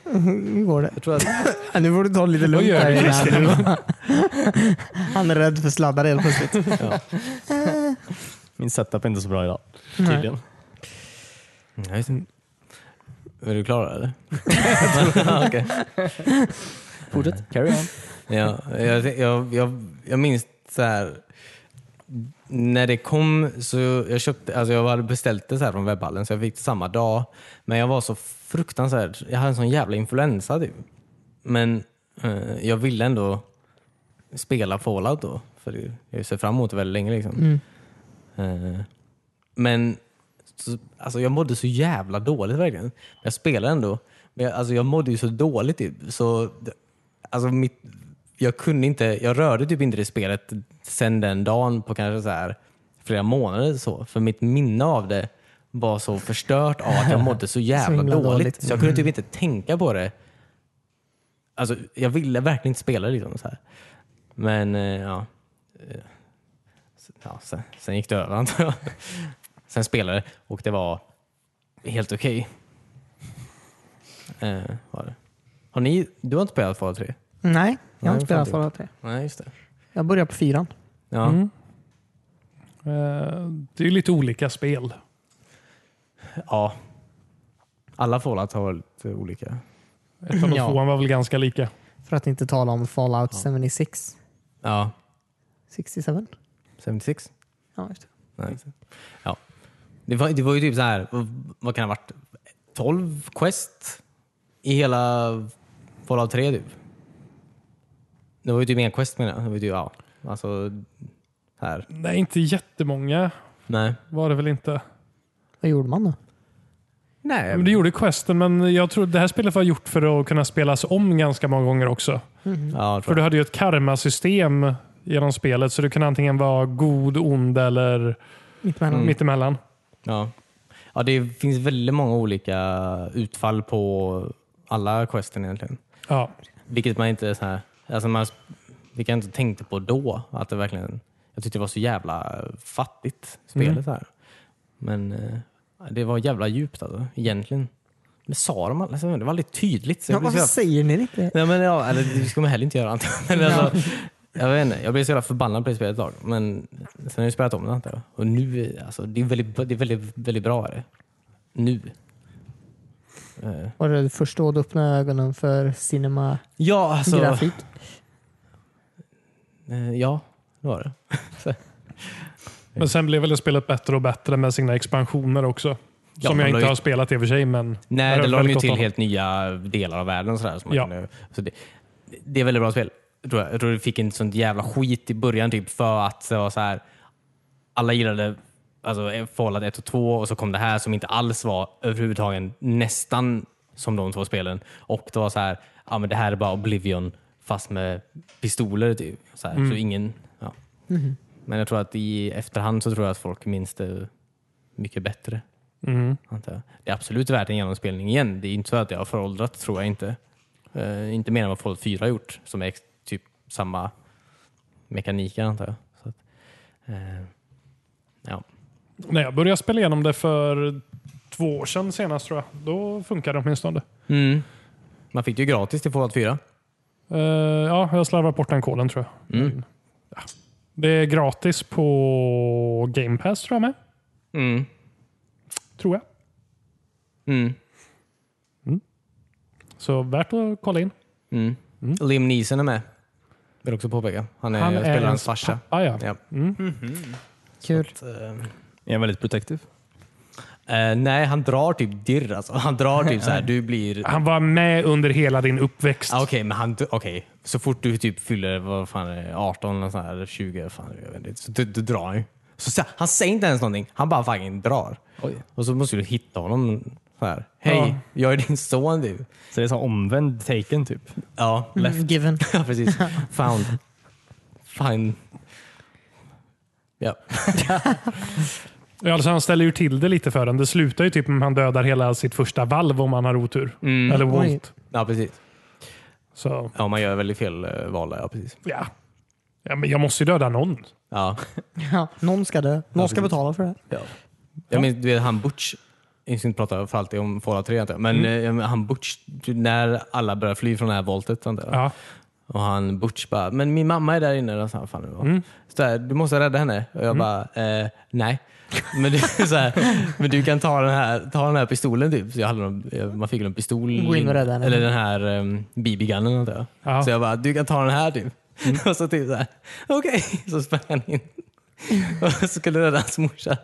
Hur går det?
Jag tror att
Ja, nu får du ta det lite
Vad
lugnt
gör
här
vi
innan
just
han, *laughs* han är rädd för sladdar helt plötsligt.
Min setup är inte så bra idag. Tydligen.
Mm, Jag vet inte. Är du klar *laughs* eller? Okej.
Fortsätt. Carry on.
ja, jag, jag, jag, jag minns så här. När det kom så jag köpte, alltså jag hade beställt det så här från webbhallen så jag fick det samma dag. Men jag var så fruktansvärt, jag hade en sån jävla influensa typ. Men eh, jag ville ändå spela Fallout då. För det- jag ser fram emot det väldigt länge liksom. Eh, men så, alltså jag mådde så jävla dåligt verkligen. Men Jag spelade ändå. Men jag, alltså jag mådde ju så dåligt typ. Så, d- alltså mitt, jag kunde inte, jag rörde typ inte det spelet sen den dagen på kanske så här flera månader eller så. För mitt minne av det var så förstört av att jag
*laughs*
mådde så jävla
himla
dåligt.
dåligt. Mm.
Så jag kunde typ inte tänka på det. Alltså jag ville verkligen inte spela det liksom så här. Men eh, ja. Eh, s- ja sen, sen gick det över antar jag. Sen spelade det och det var helt okej. Eh, var det. Har ni, du har inte spelat Fallout 3?
Nej, jag har
Nej,
inte spelat
fan,
Fallout 3.
Nej, just det.
Jag börjar på fyran.
Ja.
Mm. Eh, Det är ju lite olika spel.
ja. Alla Fallout har varit olika.
Ettan och
Ja.
tvåan var väl ganska lika.
För att inte tala om Fallout 76.
Ja.
67?
76?
Ja, just det.
Nej. just det. Ja. Det, var, det var ju typ så här, vad- vad kan det ha varit? 12 quest i hela Fallout 3 typ. Det var ju typ en quest menar jag. Det var ju typ, ja. Alltså, här.
Nej, inte jättemånga
Nej.
var det väl inte.
Vad gjorde man då?
Nej,
Men du gjorde questen, men jag tror det här spelet var gjort för att kunna spelas om ganska många gånger också.
Ja, jag
För
tror
du
det.
hade ju ett karmasystem genom spelet, så du kunde antingen vara god, ond eller Mm,
Mittemellan?
mittemellan.
Ja. ja, det finns väldigt många olika utfall på alla questen egentligen.
Ja.
Vilket man inte så här, alltså man, vilket jag inte tänkte på då. Att det verkligen, jag tyckte det var så jävla fattigt spelet
Mm.
här. Men eh, det var jävla djupt alltså, egentligen. Det sa de alltså, det var väldigt tydligt. Så
Ja,
jag blev så
varför
jävla,
säger ni det inte?
nej, men, ja, eller det ska man heller inte göra antar jag. Men alltså, jag vet inte, jag blev så jävla förbannad på det spelet ett tag. Men sen har jag spelat om det antar jag. Och nu, alltså, det är väldigt, det är väldigt, väldigt bra är det. Nu. Eh,
Var det först då du öppnade ögonen för cinema
Ja, alltså.
grafik?
Eh, ja, det var det.
Men sen blev väl det spelet bättre och bättre med sina expansioner också.
Ja,
som
de
jag
la
inte
ju-
har spelat i och för sig, men
Nej, det
det var
la de ju
väldigt
till
gott om.
helt nya delar av världen. Och sådär, som man
Ja.
kunde, så det, det är väldigt bra spel. Tror jag. jag tror det fick en sånt jävla skit i början typ för att det var så här. alla gillade alltså, Fallout 1 och 2 och så kom det här som inte alls var överhuvudtaget nästan som de två spelen. Och det var så här, ja men det här är bara Oblivion fast med pistoler typ. Så, här, så ingen... Ja. Men jag tror att i efterhand så tror jag att folk minns det mycket bättre.
Mm.
Antar jag. Det är absolut värt en genomspelning igen. Det är inte så att jag har föråldrat, tror jag inte. Eh, inte mer än vad Fallout 4 har gjort, som är ex- typ samma mekaniker antar jag. Så att, eh, ja.
När jag började spela igenom det för två år sedan senast tror jag, då funkade det åtminstone.
mm. Man fick det ju gratis till Fallout 4.
Eh, ja, jag slarvar bort den koden tror jag.
Mm.
Men, ja. Det är gratis på Game Pass tror jag med.
Mm.
Tror jag. Mm.
Mm.
Så värt att kolla in.
Mm. Liam Neeson är med. Vill också påpeka. Han är,
Han är
spelar
ens
hans farsa.
Ah, ja.
Ja.
Kul.
Är han väldigt protective?
Eh, nej, han drar typ dirr alltså. Han drar typ så här, du blir
Han var med under hela din uppväxt.
Ah, Okej, men han, okay. så fort du typ fyller vad fan är det, 18 eller, sån här, eller 20, fan, jag vet inte, så du, du drar han ju. Så, så, han säger inte ens någonting, han bara fucking drar. Och så måste du hitta honom. Så här. Hej,
Ja.
jag är din son du.
Så det är så omvänd taken typ?
Ja,
Mm, given.
*laughs* ja precis. Found. Fine. Ja.
Ja, Alltså han ställer ju till det lite för en. Det slutar ju typ med att han dödar hela sitt första valv om han har otur.
Mm.
Eller Walt.
Ja, precis.
Så,
Ja, man gör väldigt fel eh, val där. Ja, precis.
ja. ja men jag måste ju döda någon.
Ja.
Ja, någon ska dö. Någon ska
precis.
betala för det.
Ja. Jag minns, du vet han Butch, jag ska inte prata för alltid om Fallout 3 antar jag, men
Mm.
eh, han Butch, när alla börjar fly från det här voltet antar jag.
Ja.
Och han Butch bara, men min mamma är där inne. Eller så här, fan det var.
Mm.
Så där, du måste rädda henne. Och jag bara, eh, nej. *laughs* Men du, så här, men du kan ta den här, ta den här pistolen typ. Så jag hade någon, eh, man fick en pistol.
Gå in och rädda henne.
Eller den här um, BB-gunnen antar jag.
Ja.
Så jag bara, du kan ta den här typ. *laughs* Och så typ såhär, okej. Så sprang han in. Och så skulle rädda hans morsa.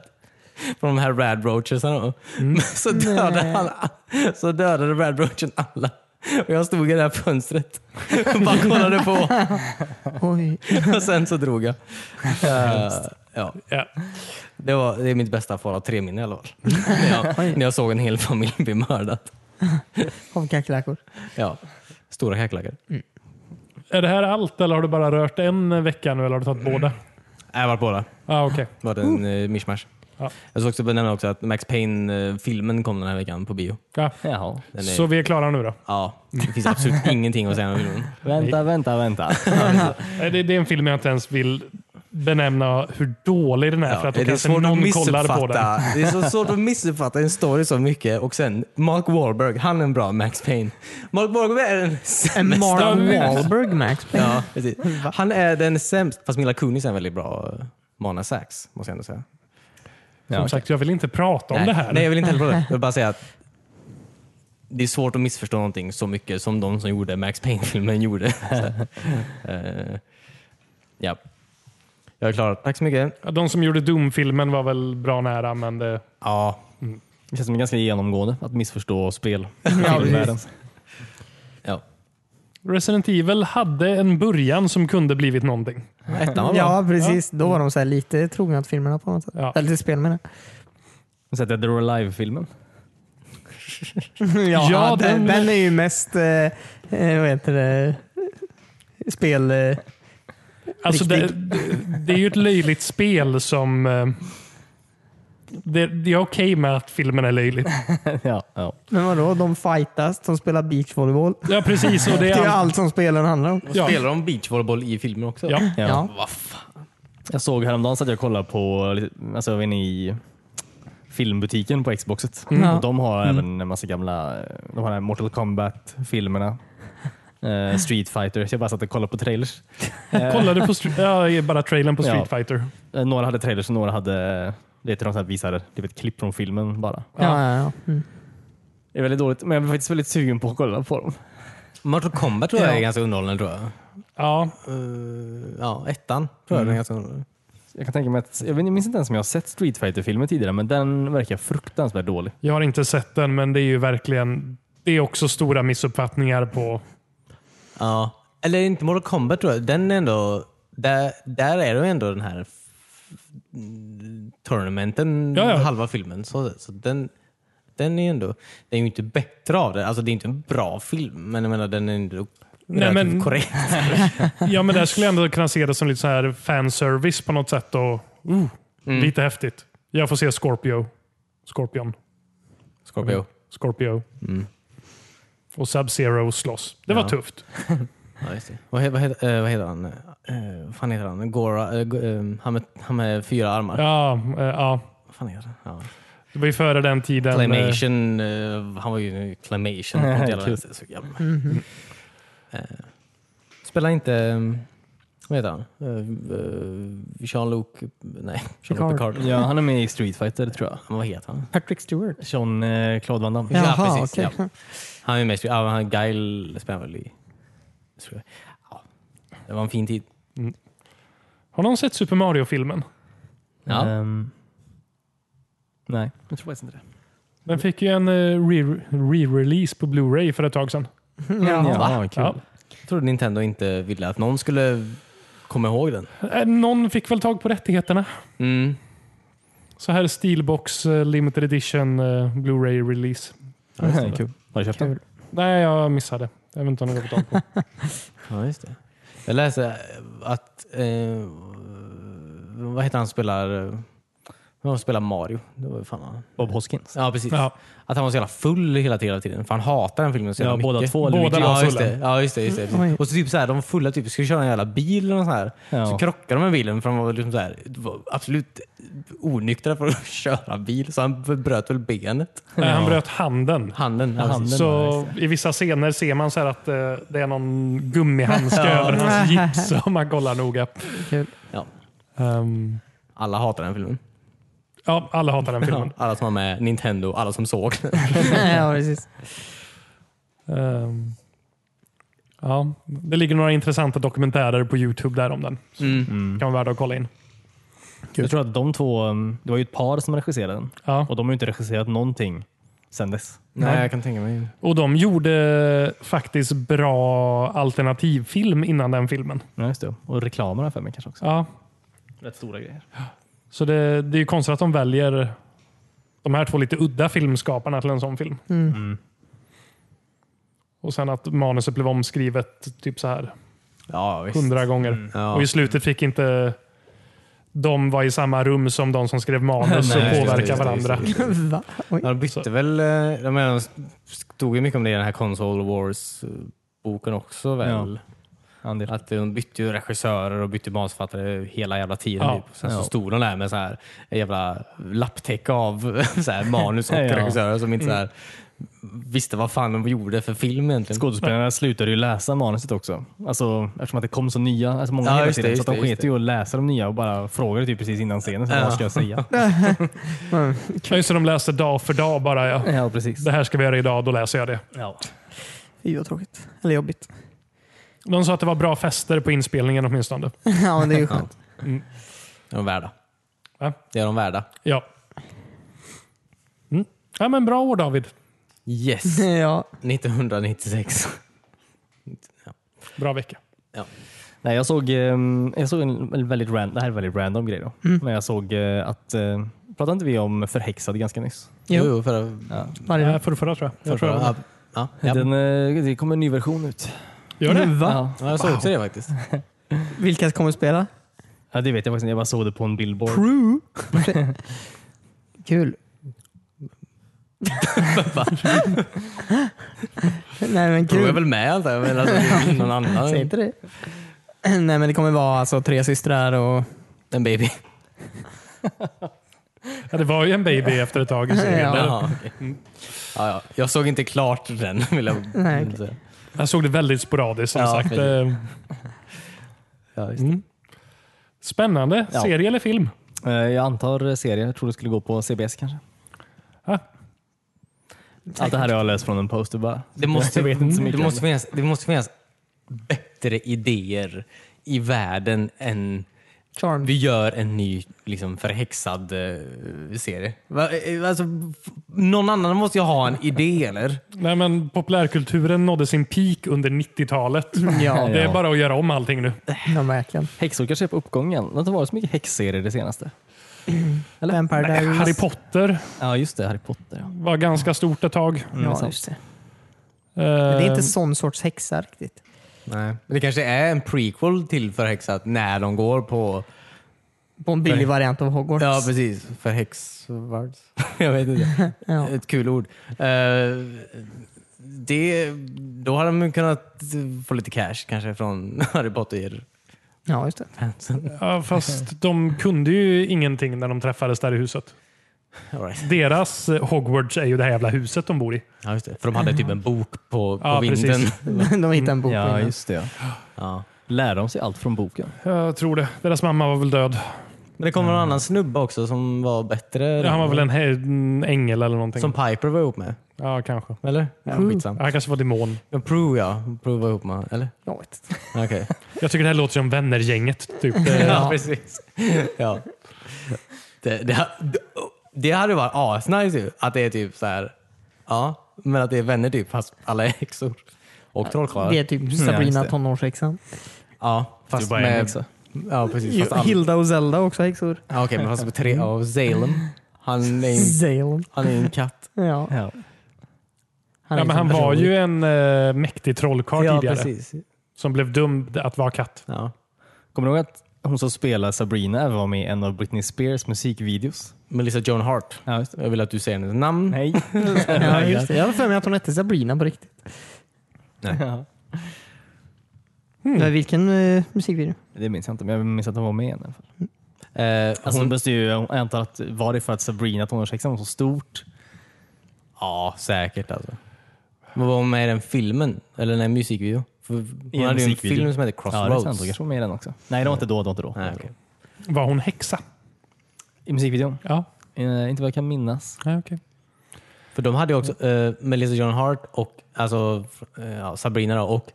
Från de här Rad Roachersarna då. Men *laughs* Så dödade,
Nej.
han, så dödade Rad Roachen alla. Och jag stod i det här fönstret och bara kollade på.
Oj.
Och sen så drog jag. Eh, ja.
Ja.
det, var, det är mitt bästa Fallout 3-minne i alla fall. när, jag, när jag såg en hel familj bli mördad.
Av kackerlackor.
Ja. Stora kackerlackor.
Är det här allt eller har du bara rört en vecka nu eller har du tagit båda?
Mm. Jag har varit båda.
Ah, okej.
Var det en eh, mishmash.
Ja.
Jag ska också benämna också att Max Payne-filmen kom den här veckan på bio.
ja.
Jaha.
Den är,
Så vi är klara nu då?
ja, det finns absolut *laughs* ingenting att säga om filmen.
Vänta, vänta, vänta.
Nej, Det, det är en film jag inte ens vill benämna hur dålig den är för att då kanske någon kollar på den.
det är så svårt att missuppfatta en story så mycket. Och sen Mark Wahlberg, han är en bra Max Payne. Mark Wahlberg är den
En
sämsta.
Mark
Mesta-
Wahlberg Max.
*laughs*
Ja, precis. Han är den sämsta. Fast Mila Kunis är en väldigt bra eh, Mana Sax, måste jag ändå säga.
Som
Ja,
sagt, jag vill inte prata om
Nej.
det här.
Nej, jag vill inte
*laughs*
heller prata om det. Jag vill bara säga att det är svårt att missförstå någonting så mycket som de som gjorde Max Payne-filmen *laughs* gjorde. Så, eh, ja. Jag är klar. Tack så mycket.
De som gjorde Doom-filmen var väl bra nära, men det...
Ja.
Det känns som ganska genomgående att missförstå spel.
Ja, ja.
Resident Evil hade en början som kunde blivit någonting.
Ettan var bra.
Ja, precis. Då var de så här lite trogna åt filmerna på något sätt.
Ja.
Eller till spel menar jag.
Sett Dead or Alive-filmen?
*laughs* Ja,
Ja,
den,
den-
den, är ju mest, eh, eh, vad heter det, spel... Eh,
Alltså det,
Riktigt.
det- det är ju ett löjligt spel som... eh, Det, det är okej med att filmen är löjlig.
*laughs* ja, ja.
men vadå, de fightas, de spelar beachvolleyboll.
Ja, precis. Och
*laughs*
det
Det är
är
ju
allt.
allt som spelen handlar om.
Ja.
Spelar de beachvolleyboll i filmen också?
Ja.
Ja.
Ja.
Jag såg häromdagen så att jag kollade på, alltså jag var inne i filmbutiken på Xboxet.
Ja.
Och de har även en massa gamla, de har de här Mortal Kombat-filmerna. eh, Street Fighter, så jag bara satt och kollade på trailers.
Kollade på str- ja, det är bara trailern på Street
Ja.
Fighter.
Eh, Några hade trailers och några hade, det heter de så här visade, det är ett klipp från filmen bara.
Ja, ja, ja. Mm.
Det är väldigt dåligt, men jag blir faktiskt väldigt sugen på att kolla på dem.
Mortal Kombat tror jag är
Ja.
ganska underhållande. Tror jag.
Ja,
Eh, ja, ettan tror jag den är ganska underhållande.
Jag kan tänka mig att, jag vet- jag minns inte ens om jag har sett Street Fighter-filmen tidigare, men den verkar fruktansvärt dålig.
jag har inte sett den, men det är ju verkligen... Det är också stora missuppfattningar på...
Ja. Eller inte Mortal Kombat tror jag. Den är ändå, där, där är det ju ändå den här f- tournamenten,
Ja, ja.
halva filmen. Så, så den, den är ju ändå, den är ju inte bättre av det. Alltså det är inte en bra film, men jag menar den är ändå
Nej,
relativt
men-
korrekt.
Ja, men där skulle jag ändå kunna se det som lite så här fanservice på något sätt. Och, uh, Lite häftigt. Jag får se Scorpio. Scorpion.
Scorpio.
*laughs* Scorpio. Och Sub-Zero slåss. Det var
Ja.
tufft.
Ja, just det. Vad, he- vad, heter, eh, vad heter han? Eh, vad fan heter han? Gora, eh, go- eh, han, med, han med fyra armar.
Ja, eh, ja.
Vad fan heter han? Ja.
Det var ju före den tiden.
Clamation. eh, han var ju Clamation.
Nej,
Jävla-
kul.
så jävla- Eh, Spelar inte... eh, Vad heter han? Eh, eh, Jean-Luc... Nej, *laughs* Jean-Luc
Picard.
Picard.
Ja, han är med i Street Fighter tror jag.
Men Vad heter han?
Patrick Stewart.
Jean-Claude eh, Van Damme.
Ja,
Jaha,
precis,
okej.
Han är med i Street- ja, han Guile spelar väl i... tror jag. Ja, det var en fin tid.
Har någon sett Super Mario-filmen?
Ja.
Ehm, nej, jag tror faktiskt inte det.
Den fick ju en eh, re- re-release på Blu-ray för ett tag sedan.
*laughs*
Ja, kul.
Ja.
Jag trodde Nintendo inte ville att någon skulle komma ihåg den.
Eh, Någon fick väl tag på rättigheterna.
Mm.
Så här Steelbox eh, Limited Edition eh, Blu-ray release.
Ja, *laughs* kul. Har du köpt den?
Nej, jag missade. Jag vet inte om jag får tag på.
Ja, just det. Jag läste att... Eh, vad heter han som spelar eh, De spelar Mario. Det var ju fan vad-
Bob Hoskins.
Ja, precis.
Ja.
Att han var så jävla full hela, hela tiden. För han hatar den filmen så
Ja,
jävla
båda
mycket.
två, eller
Båda vilken? var
ja, just
fulla.
det. Ja, just det, just det.
Oj.
Och så typ så här, de fulla typ, skulle köra en jävla bil eller något så här.
Ja.
Så krockar de med bilen för de var, liksom så här, var absolut onyktra för att *laughs* köra bil. Så han bröt väl benet.
Nej, Eh, han bröt handen.
Handen. Ja,
Handen.
precis.
Så i vissa scener ser man så här att eh, det är någon gummihandske över hans gips om man kollar noga.
Kul.
Ja.
Ehm,
Alla hatar den filmen.
ja, alla hatar den filmen.
Alla som var med Nintendo, alla som såg den.
*laughs* ja, precis.
Ehm, ja, det ligger några intressanta dokumentärer på Youtube där om den.
Mm.
Kan vara värda att kolla in.
Jag tror att de två, um, det var ju ett par som regisserade den
Ja.
och de har ju inte regisserat någonting sen dess.
Nej, jag kan tänka mig.
Och de gjorde faktiskt bra alternativfilm innan den filmen.
Ja, just det. Och reklamerna för mig kanske också.
Ja,
Rätt stora grejer.
så det, det är ju konstigt att de väljer de här två lite udda filmskaparna till en sån film.
Mm.
Och sen att manuset blev omskrivet typ så här
Ja, visst. Mm.
hundra gånger.
Ja.
Och i slutet fick inte de vara i samma rum som de som skrev manus
*laughs*
och
Nej, just det,
påverka
just det,
varandra.
just det.
Va? Oj.
Ja, de bytte väl... eh, Jag menar, de stod ju mycket om det i den här Console Wars-boken också väl?
Andel.
Att de bytte ju regissörer och bytte manusförfattare hela jävla tiden.
Ja.
Typ. Sen så
Ja.
stod de där med så här en jävla lapptäcke av *laughs* så här, manus och
Ja.
regissörer som inte så här, visste vad fan de gjorde för film egentligen.
Skådespelarna slutade ju läsa manuset också. Alltså, eftersom att det kom så nya, alltså många
Ja,
hela
just det,
tiden. så
just
att de
det, just
sket ju att läsa de nya och bara frågade typ precis innan scenen. Så
Ja.
Vad ska jag säga?
Ja, just det, de läste dag för dag bara. Ja.
*laughs* ja, precis.
Det här ska vi göra idag, då läser jag det.
Ja.
Fy vad tråkigt. Eller jobbigt.
De sa att det var bra fester på inspelningen åtminstone.
*laughs* ja, men det är ju skönt. *laughs*
Det är de värda.
Ja.
Det är de värda.
Ja. Mm. ja men bra år David.
*laughs*
Yes!
ja.
1996.
Bra vecka.
Nej, jag såg, ehm, jag såg en väldigt random, det här är en väldigt random grej då. Men jag såg eh, att, eh, pratade inte vi om förhäxad ganska nyss?
Jo.
förra,
Varje dag.
Nej, För förra tror jag. jag tror
förra,
jag.
ja, ja.
Den, eh, det kommer en ny version ut.
Gör det?
Va?
ja, jag såg också det faktiskt.
Vilka kommer spela?
Ja, det vet jag faktiskt inte. Jag bara såg det på en billboard.
Crew. *laughs* Kul. *laughs* Nej men
Tror jag
kul.
väl med allt det här, men alltså, det är någon *laughs* annan.
Säg inte det. *laughs* Nej men det kommer vara alltså tre systrar och...
En baby.
Ja, det var ju en baby efter ett tag i serien. där.
Jaha, okej. ja, ja. Jag såg inte klart den. *laughs* Vill jag
Nej, okej.
säga.
Jag såg det väldigt sporadiskt som
Ja,
sagt.
precis.
Eh,
Ja, just det.
Mm. Spännande.
Ja.
Serie eller film?
Eh, Jag antar serien. Jag tror det skulle gå på CBS kanske.
Ja.
Allt det här har jag läst från en poster bara.
Det, måste,
jag vet inte så mycket.
det, måste finnas, det måste finnas bättre idéer i världen än
Charmed.
vi gör en ny liksom, förhäxad eh, serie. Va, eh, alltså, f- någon annan måste ju ha en idé eller?
Nej, men populärkulturen nådde sin peak under 90-talet.
Mm.
Ja,
Det är
Ja.
bara att göra om allting nu.
ja verkligen.
Häxor kanske är på uppgång igen. Det har inte varit så mycket häxserier det senaste.
Vampire Diaries.
Harry Potter
Ja, just det. Harry Potter. ja.
var ganska stort ett tag.
Ja, just Mm, det. Men det är
Ehm.
inte sån sorts häxa riktigt.
Nej. Men det kanske är en prequel till förhäxat när de går på...
På en billig variant av Hogwarts.
Ja precis, förhäxvards. *laughs* jag vet inte.
*laughs*
Ja.
Ett kul ord. Eh, det, då hade man kunnat få lite cash kanske från *laughs* Harry Potter-fansen.
ja, just det. *laughs*
Eh, Ja, fast de kunde ju ingenting när de träffades där i huset.
All right.
Deras eh, Hogwarts är ju det här jävla huset de bor i.
ja, just det. För de hade typ en bok på, på
Ja, precis.
vinden.
De hittade en bok på
Ja,
innan.
just det. ja.
*laughs* Ja.
Lär de sig allt från boken?
Jag tror det. Deras mamma var väl död.
Men det kom någon annan snubbe också som var bättre.
Han var väl en, he- en ängel eller någonting.
Som Piper var ihop med.
Ja, kanske.
Eller? Ja, skitsam.
Han kanske var demon.
Ja, Prue ja. Prue var ihop med. Eller?
Jag vet inte.
Okej.
Jag tycker det här låter som vännergänget. Typ. Det-
Ja, precis. Ja. Det, det, det hade varit asnice ju. Att det är typ så här. Ja, men att det är vänner typ fast alla är häxor. Och trollkarlar.
Det är typ
just
Sabrina
det.
tonårshäxan.
Ja,
Det är
fast
bara en
med...
häxa.
Ja, precis. Fast all...
Hilda och Zelda är också häxor.
ja, okej, men fast med tre av Salem. Han är ju
Zelda.
han är ju en katt.
Ja. liksom
Ja.
Han
Ja, men han var ju en eh, mäktig trollkarl
Ja,
tidigare
precis.
som blev dömd att vara katt.
Ja.
Kommer du ihåg att hon som spelar Sabrina även var med i en av Britney Spears musikvideos.
Melissa Joan Hart.
Ja, just det.
Jag vill att du säger hennes namn.
Nej.
*laughs* Ja, just det. Jag har för mig att hon hette Sabrina på riktigt.
Ja.
Men Vilken eh, musikvideo?
Det minns jag inte, men jag minns att hon var med i en i alla fall.
Eh,
Alltså,
hon-
hon måste ju, jag antar att var det för att Sabrina tonårshäxan var så stort?
Ja, säkert alltså. Men var hon med i den filmen? Eller den här musikvideon? För hon hade ju en
musikvideo.
film som hette
Ja, det är sant.
Crossroads.
Hon kanske var med i den också. Nej, det var inte då. Det var inte då.
Nej, okej.
Var hon häxa?
I musikvideon?
Ja,
Eh, inte vad jag kan minnas.
nej, okej.
För de hade ju också eh, Melissa Joan Hart och alltså, eh, ja, Sabrina då, och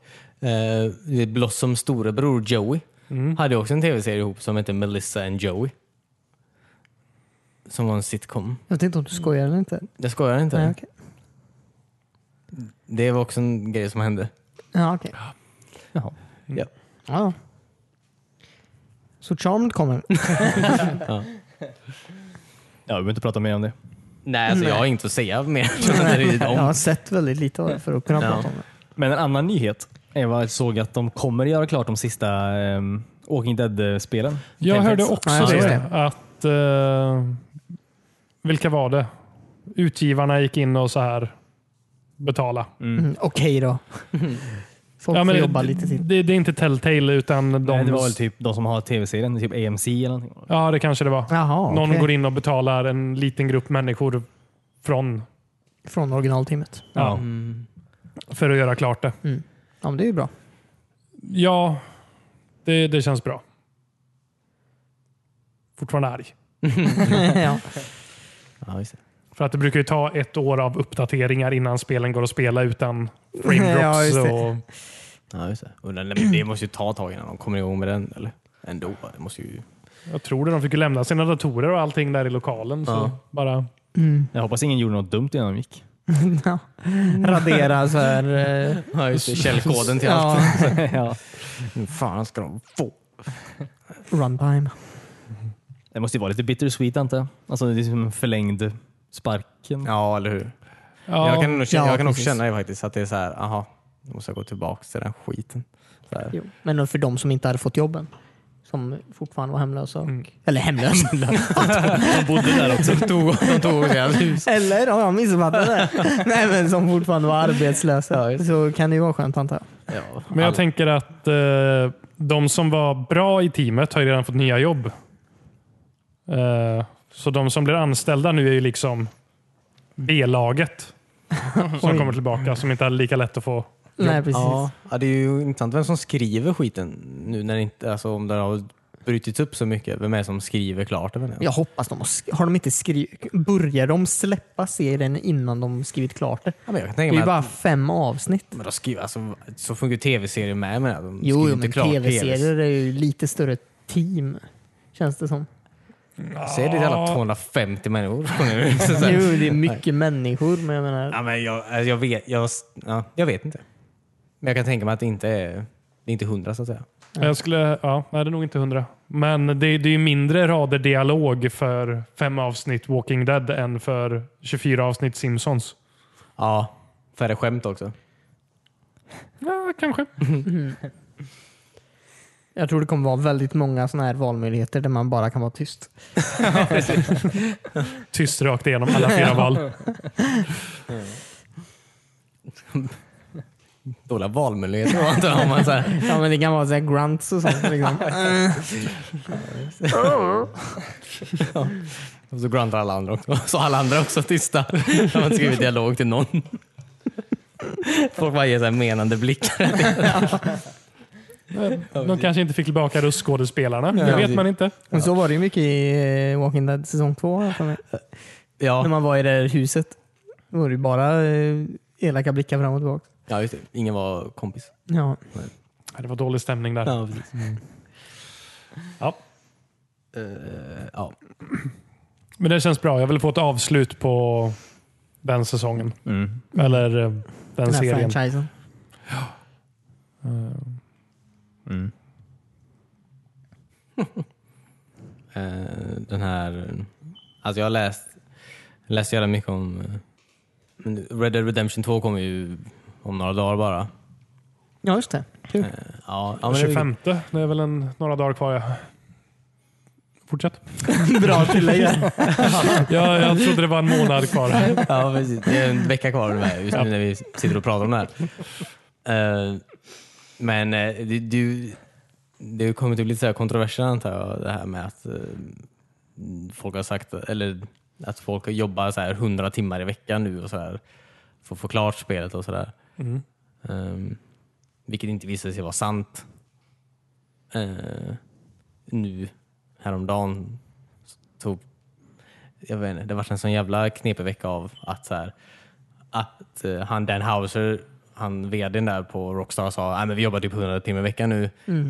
eh, Blossoms storebror Joey
Mm.
hade ju också en tv-serie ihop som hette Melissa and Joey. Som var en sitcom.
Jag vet inte om du skojar eller inte.
Jag skojar inte.
Nej, okej.
Det var också en grej som hände.
Ja, okej.
Jaha.
Ja.
Ja. Så Charmed kommer.
Ja, vi behöver inte prata mer om det.
Nej, alltså, jag har inget att säga *laughs* mer. Jag vet inte riktigt
Jag
om.
har sett väldigt lite av det för att kunna
Ja.
prata om det.
Men en annan nyhet. Jag var- såg att de kommer göra klart de sista ehm, Walking Dead-spelen.
Jag
Tänk
hörde
också.
också
Ja,
det,
just
att... eh, vilka var det? Utgivarna gick in och så här betala.
Mm, Okej då. Folk får jobba lite till.
Det, det är inte Telltale utan de...
Nej, det var väl typ de som har tv-serien, typ AMC eller någonting.
Ja, det kanske det var.
Jaha,
Någon
okej.
går in och betalar en liten grupp människor från
Från originaltimmet.
Ja. för att göra klart det.
Ja, men det är ju bra.
Ja, det, det känns bra. Fortfarande arg.
ja.
Ja, just det.
För att det brukar ju ta ett år av uppdateringar innan spelen går att spela utan frame
*laughs* Ja,
drops.
just det.
och,
Ja, just det. Och den, men det måste ju ta tag innan de kommer igång med den. Eller? Ändå. Det måste ju...
jag tror det. De fick ju lämna sina datorer och allting där i lokalen. Så
Ja.
bara,
Jag hoppas ingen gjorde något dumt innan de gick.
ja. Radera så här. eh,
*laughs* Ja, just det. Källkoden till allt.
ja,
ja.
Hur fan ska de få?
runtime.
Det måste ju vara lite bittersweet antar jag. Alltså, det är som en förlängd sparken.
Ja, eller hur?
ja,
Jag kan, nog känna,
Ja,
jag kan också
precis.
känna det faktiskt. Att det är så här, aha, nu måste jag gå tillbaka till den skiten. Så här.
Jo. Men för de som inte hade fått jobben. Som fortfarande var hemlösa. Och, Eller hemlösa.
De bodde där också.
De tog, de tog deras hus.
*laughs* eller har jag missuppfattat det? Nej, men som fortfarande var arbetslösa. så kan det ju vara skönt antar jag.
Ja,
Men jag tänker att eh, de som var bra i teamet har ju redan fått nya jobb. Eh, så de som blir anställda nu är ju liksom
*laughs*
B-laget som
Oj.
kommer tillbaka som inte hade lika lätt att få.
Nej, precis.
ja, ja, det är ju intressant vem som skriver skiten nu när det inte, alltså, om den har brutits upp så mycket. Vem är det som skriver klart den?
Jag hoppas de har, sk- har de inte skrivit... Börjar de släppa serien innan de skrivit klart det?
Ja, men jag kan
Det
tänka
är
mig
ju
att
bara fem avsnitt.
Men de skriver, alltså, så funkar ju tv-serier med. med de
Jo,
skriver
jo
inte
men
klart
tv-serier är ju lite större team. Känns det som.
Säg det till alla 250 människor. som kommer nu. Så- så-
Jo, det är mycket människor, men jag menar...
ja, men jag, alltså, jag, vet, jag, ja, jag vet inte. Men jag kan tänka mig att det inte är, det är inte hundra så att säga.
Jag skulle, ja, nej, det är nog inte hundra. Men det, det är ju mindre rader dialog för fem avsnitt Walking Dead än för 24 avsnitt Simpsons.
Ja, färre skämt också.
Ja, kanske.
Jag tror det kommer vara väldigt många sådana här valmöjligheter där man bara kan vara tyst.
Tyst rakt igenom alla
*laughs*
fyra val.
Dåliga valmöjligheter var inte om man så här,
Ja, men det kan vara så här grunts och sånt.
*laughs*
Liksom.
Och så gruntar alla andra också. Så alla andra också tysta. De har inte skrivit dialog till någon. Folk bara ger så här menande blickar.
De kanske inte fick tillbaka röstskådespelarna. Det
Ja,
vet
det-
man inte.
Men så var det ju mycket i eh, Walking Dead säsong två. har jag för mig. När
Ja,
man var i det här huset. Då var det ju bara eh, elaka blickar fram och tillbaka.
ja just det. Ingen var kompis.
Ja.
Ja, Det var dålig stämning där.
Ja, precis. Mm.
Ja.
Eh, ja.
Men det känns bra. Jag vill få ett avslut på den säsongen.
Mm.
Eller eh, den,
Den här
serien.
franchisen.
Mm.
Eh, den här... Alltså jag har läst, läst jävla mycket om... eh, men Red Dead Redemption 2 kommer ju om några dagar bara.
Ja, just det.
Ja, ja, men det är-
25. Det är väl en, några dagar kvar. Ja. fortsätt.
*laughs* Bra tillägg
*laughs*
där.
Jag, jag trodde det var en månad
*laughs*
kvar.
*laughs* Ja, precis. Det är en vecka kvar ungefär, just nu när vi sitter och pratar om det här. Eh, men eh, det, du, det har kommit upp lite så här kontroverser antar jag, det här med att eh, folk har sagt, eller att folk jobbar så här 100 timmar i veckan nu och så här, för att få klart spelet och sådär.
Mm.
Eh, vilket inte visade sig vara sant. Eh, nu, häromdagen, tog jag vet inte, det var en sån jävla knepig vecka av att, så här, att eh, han Dan Houser, han vdn där på Rockstar sa "Nej, men vi jobbar typ 100 timmar i veckan nu.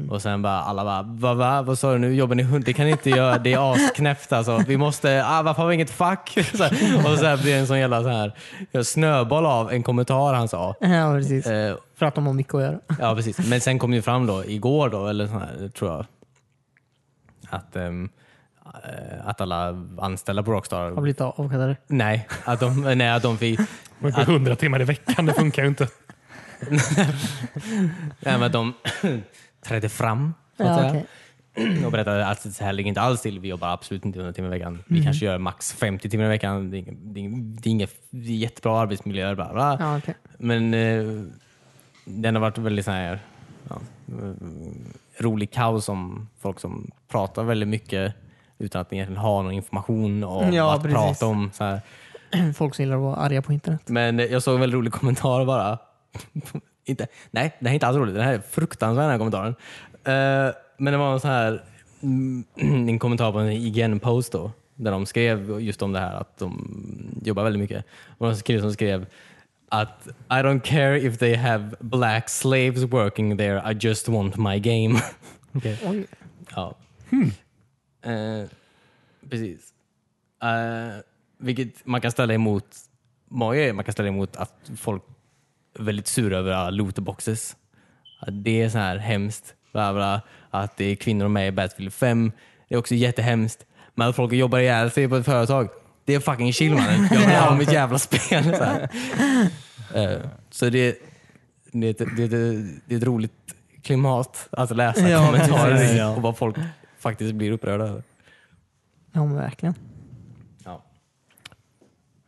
Och sen bara alla bara, va, va, vad sa du nu? Jobbar ni 100? Det kan ni inte göra. Det är asknäppt alltså. Vi måste, ah, varför har vi inget fack? *laughs* Så här, och så här blir det en sån jävla så här, snöboll av en kommentar han sa.
Ja, precis.
Eh,
För att de har mycket att göra. *laughs*
Ja, precis. Men sen kom det ju fram då, igår då, eller så här, tror jag, att, ehm, eh, att alla anställda på Rockstar
Har blivit avskedade.
Nej, att de, nej, att de fick...
Men på 100 timmar i veckan, det funkar ju inte.
Nej, men att de *clears throat* trädde fram så att
Ja,
säga,
okej.
och berättade att så här ligger inte alls till. Vi jobbar absolut inte 100 timmar i veckan.
Mm.
Vi kanske gör max 50 timmar i veckan. Det är, ingen- det är, ingen- det är, inga, det är jättebra arbetsmiljöer. Bla, bla.
Ja, okej.
Men eh, den har varit väldigt så här, ja, eh, rolig kaos om folk som pratar väldigt mycket utan att egentligen ha någon information om
Ja,
att
precis.
prata om. Så här.
Folk som gillar att vara arga på internet.
Men eh, jag såg en väldigt rolig kommentar bara. *laughs* inte, nej, det här är inte alls roligt. Det här är fruktansvärt den här kommentaren. Eh, men det var en sån här mm, *clears throat* en kommentar på en IGN-post då. Där de skrev just om det här att de jobbar väldigt mycket. Och en kille som skrev att I don't care if they have black slaves working there, I just want my game. *laughs*
Oj.
Ja. Eh, precis. Eh, vilket man kan ställa emot många grejer. Man kan ställa emot att folk är väldigt sura över alla lootboxes. Att det är så här hemskt. Bla bla, att det är kvinnor med i Battlefield 5. Det är också jättehemskt. Men att folk jobbar ihjäl sig på ett företag. Det är fucking chill mannen. Jag vill ha mitt jävla spel. Så, här. Eh, så det, det, är ett, det, är ett, det är ett roligt klimat att läsa
Ja,
kommentarer
precis.
i
Ja.
och vad folk faktiskt blir upprörda över.
Ja, men verkligen.
Ja.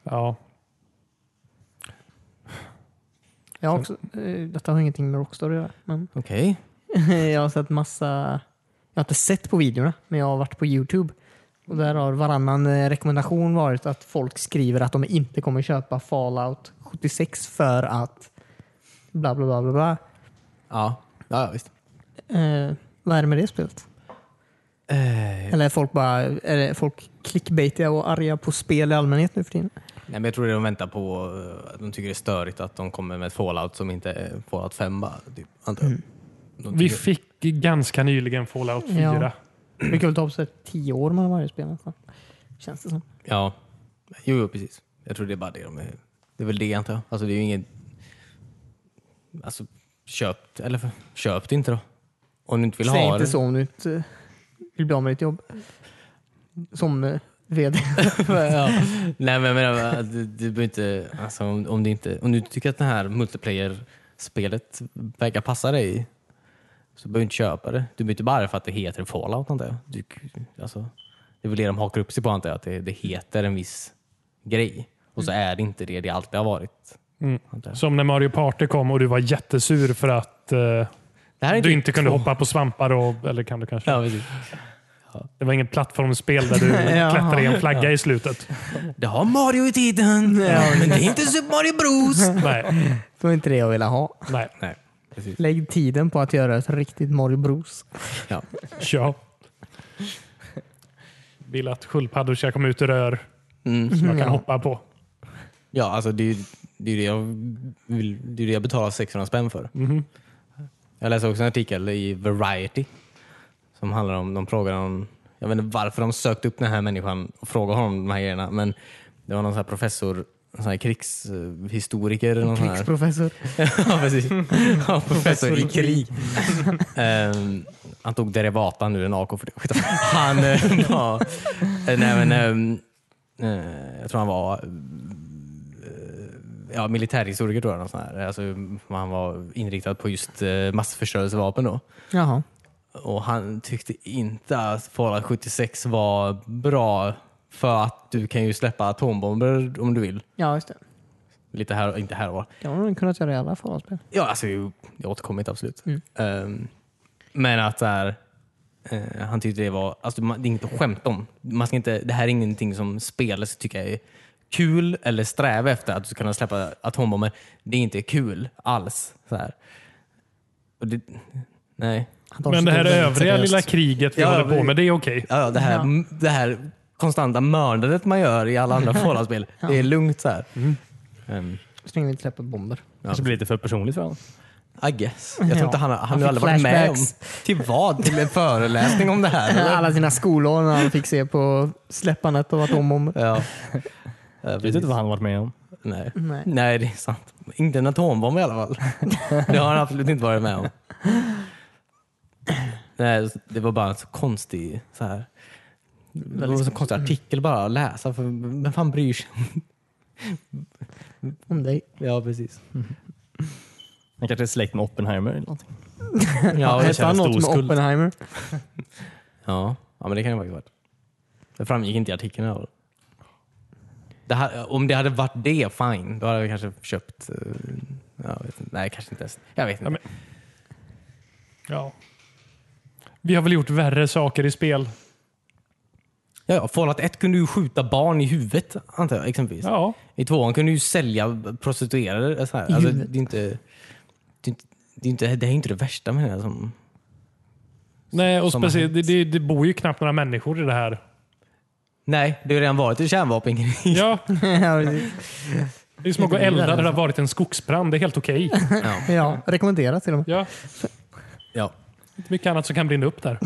Ja.
Jag har också, eh, detta har ingenting med Rockstar att göra. Men *laughs*
Okej.
jag har sett massa... Jag har inte sett på videorna, men jag har varit på Youtube. Och där har varannan eh, rekommendation varit att folk skriver att de inte kommer köpa Fallout 76 för att bla bla bla bla bla.
Ja. ja, ja, visst.
Eh, vad är det med det spelet?
Eh,
Eller är folk bara är det folk clickbaitiga och arga på spel i allmänhet nu för tiden?
Nej, men jag tror det de väntar på, eh, att de tycker det är störigt att de kommer med ett fallout som inte är fallout 5 bara, typ, antar jag. De
Vi
tycker-
fick ganska nyligen Fallout 4.
Ja. Det kan väl ta på sig tio år mellan varje spel nästan. Känns det som.
Ja, jo, jo precis. Jag tror det är bara det de är. Det är väl det antar jag. Alltså det är ju inget... Alltså köp, eller för- köp det inte då. Om du inte vill ha
Säg inte
det.
så om du inte vill bli av med ditt jobb. Som eh, vd. *laughs*
ja. *laughs* Nej men jag menar, du, du behöver inte, alltså, om, om, det inte, om du inte tycker att det här multiplayer-spelet verkar passa dig så behöver du inte köpa det. Du behöver inte bara för att det heter Fallout antar jag. Du, alltså, det är väl det de hakar upp sig på antar jag, att det, det heter en viss grej. Och så är det inte det det alltid har varit.
Mm.
antar jag.
Som när Mario Party kom och du var jättesur för att eh,
Det här är typ
du inte kunde
två-
hoppa på svampar. Och, eller kan du kanske?
Ja, precis.
Det var inget plattformsspel där du
Ja.
klättrade i en flagga i slutet.
Det har Mario i tiden, men det är inte Super Mario Bros.
Nej,
Det var inte det jag ville ha.
nej.
Nej, precis.
Lägg tiden på att göra ett riktigt Mario Bros.
Ja.
Ja. Vill att sköldpaddor ska komma ut ur rör
Mm.
som jag kan
Ja.
hoppa på.
Ja, alltså det är ju det, är ju det, jag, vill, det, är det jag betalar 600 spänn för. Jag läste också en artikel i Variety som handlar om, de frågar om, jag vet inte varför de sökte upp den här människan och frågade honom de här grejerna, men det var någon sån här professor, en sån här krigshistoriker. eller någon sån här-
Krigsprofessor.
*laughs* ja, precis. Ja, professor i krig. Ehm, han tog derivatan ur en AK47. Skit. Han eh, *laughs* var... eh, nej, men, ehm, eh, jag tror han var eh, ja, militärhistoriker. Tror jag, någon sån här. Alltså, han var inriktad på just eh, massförstörelsevapen. Då.
Jaha.
och han tyckte inte att Fallout 76 var bra för att du kan ju släppa atombomber om du vill.
Ja, just det.
Lite här och inte här och var.
Det har de nog kunnat göra i alla Fallout-spel.
Ja, alltså jag jag återkommer inte absolut.
Mm.
Ehm, men att där, eh, han tyckte det var, alltså man, det är inget att skämta om. Man ska inte, det här är ingenting som spelet ska tycka är kul eller sträva efter att du ska kunna släppa atombomber. Det är inte kul alls. Så här. Och det, nej.
Han tar
Men
sig
det här
väldigt
övriga
seriöst.
lilla kriget vi
Ja,
håller på
vi-
med, det är okej.
Ja, ja, det, här, det här konstanta mördandet man gör i alla
*laughs*
andra Fallout-spel. Det är länge så här.
Mm.
Ehm,
Så länge vi inte släpper bomber. *laughs*
Kanske blir lite för personligt för honom.
I guess. Jag tror
Ja.
inte han, har-
Han
han
fick
har aldrig varit med om...
flashbacks.
Till vad? Till en föreläsning om det
*laughs*
här? eller?
Alla sina skolår när han fick se på släppandet av atombomber.
*laughs* Ja. Jag
Jag vet inte vad han har varit med om.
Nej.
Nej.
*laughs* Nej, det är sant. Inte en atombomb i alla *laughs* fall. Det har han absolut inte varit med om. Nej, det var bara en så konstig, så här, det var en så konstig artikel bara att läsa. För vem fan bryr sig?
Om dig.
Ja, precis.
Han kanske är släkt med Oppenheimer eller någonting.
*laughs* Ja, jag
Hette
känner
han
stor
något med
skuld. *laughs*
Oppenheimer?
Ja. ja, men det kan det faktiskt ha varit. Det framgick inte i artikeln. i alla fall. Det här, om det hade varit det, fine. Då hade jag kanske köpt... eh, Jag vet inte. Nej, kanske inte ens. Jag vet inte.
men- Ja. Vi har väl gjort värre saker i spel.
Ja, ja, Fallout 1 kunde ju skjuta barn i huvudet, antar jag, exempelvis.
Ja.
I tvåan kunde du ju sälja prostituerade. eller Så här.
I
Alltså,
huvudet.
det, är inte, det, är inte, det, är inte, det här är inte det värsta med det här. Som,
Nej, och
Som har
speciellt, det, det, det bor ju knappt några människor i det här.
nej, det har ju redan varit en kärnvapenkrig.
Ja,
Ja, precis.
det är som att gå och elda där det har varit en skogsbrand. Det är helt okej.
ja, rekommenderat till och med.
Ja,
*laughs* Ja.
inte mycket annat som kan brinna upp där.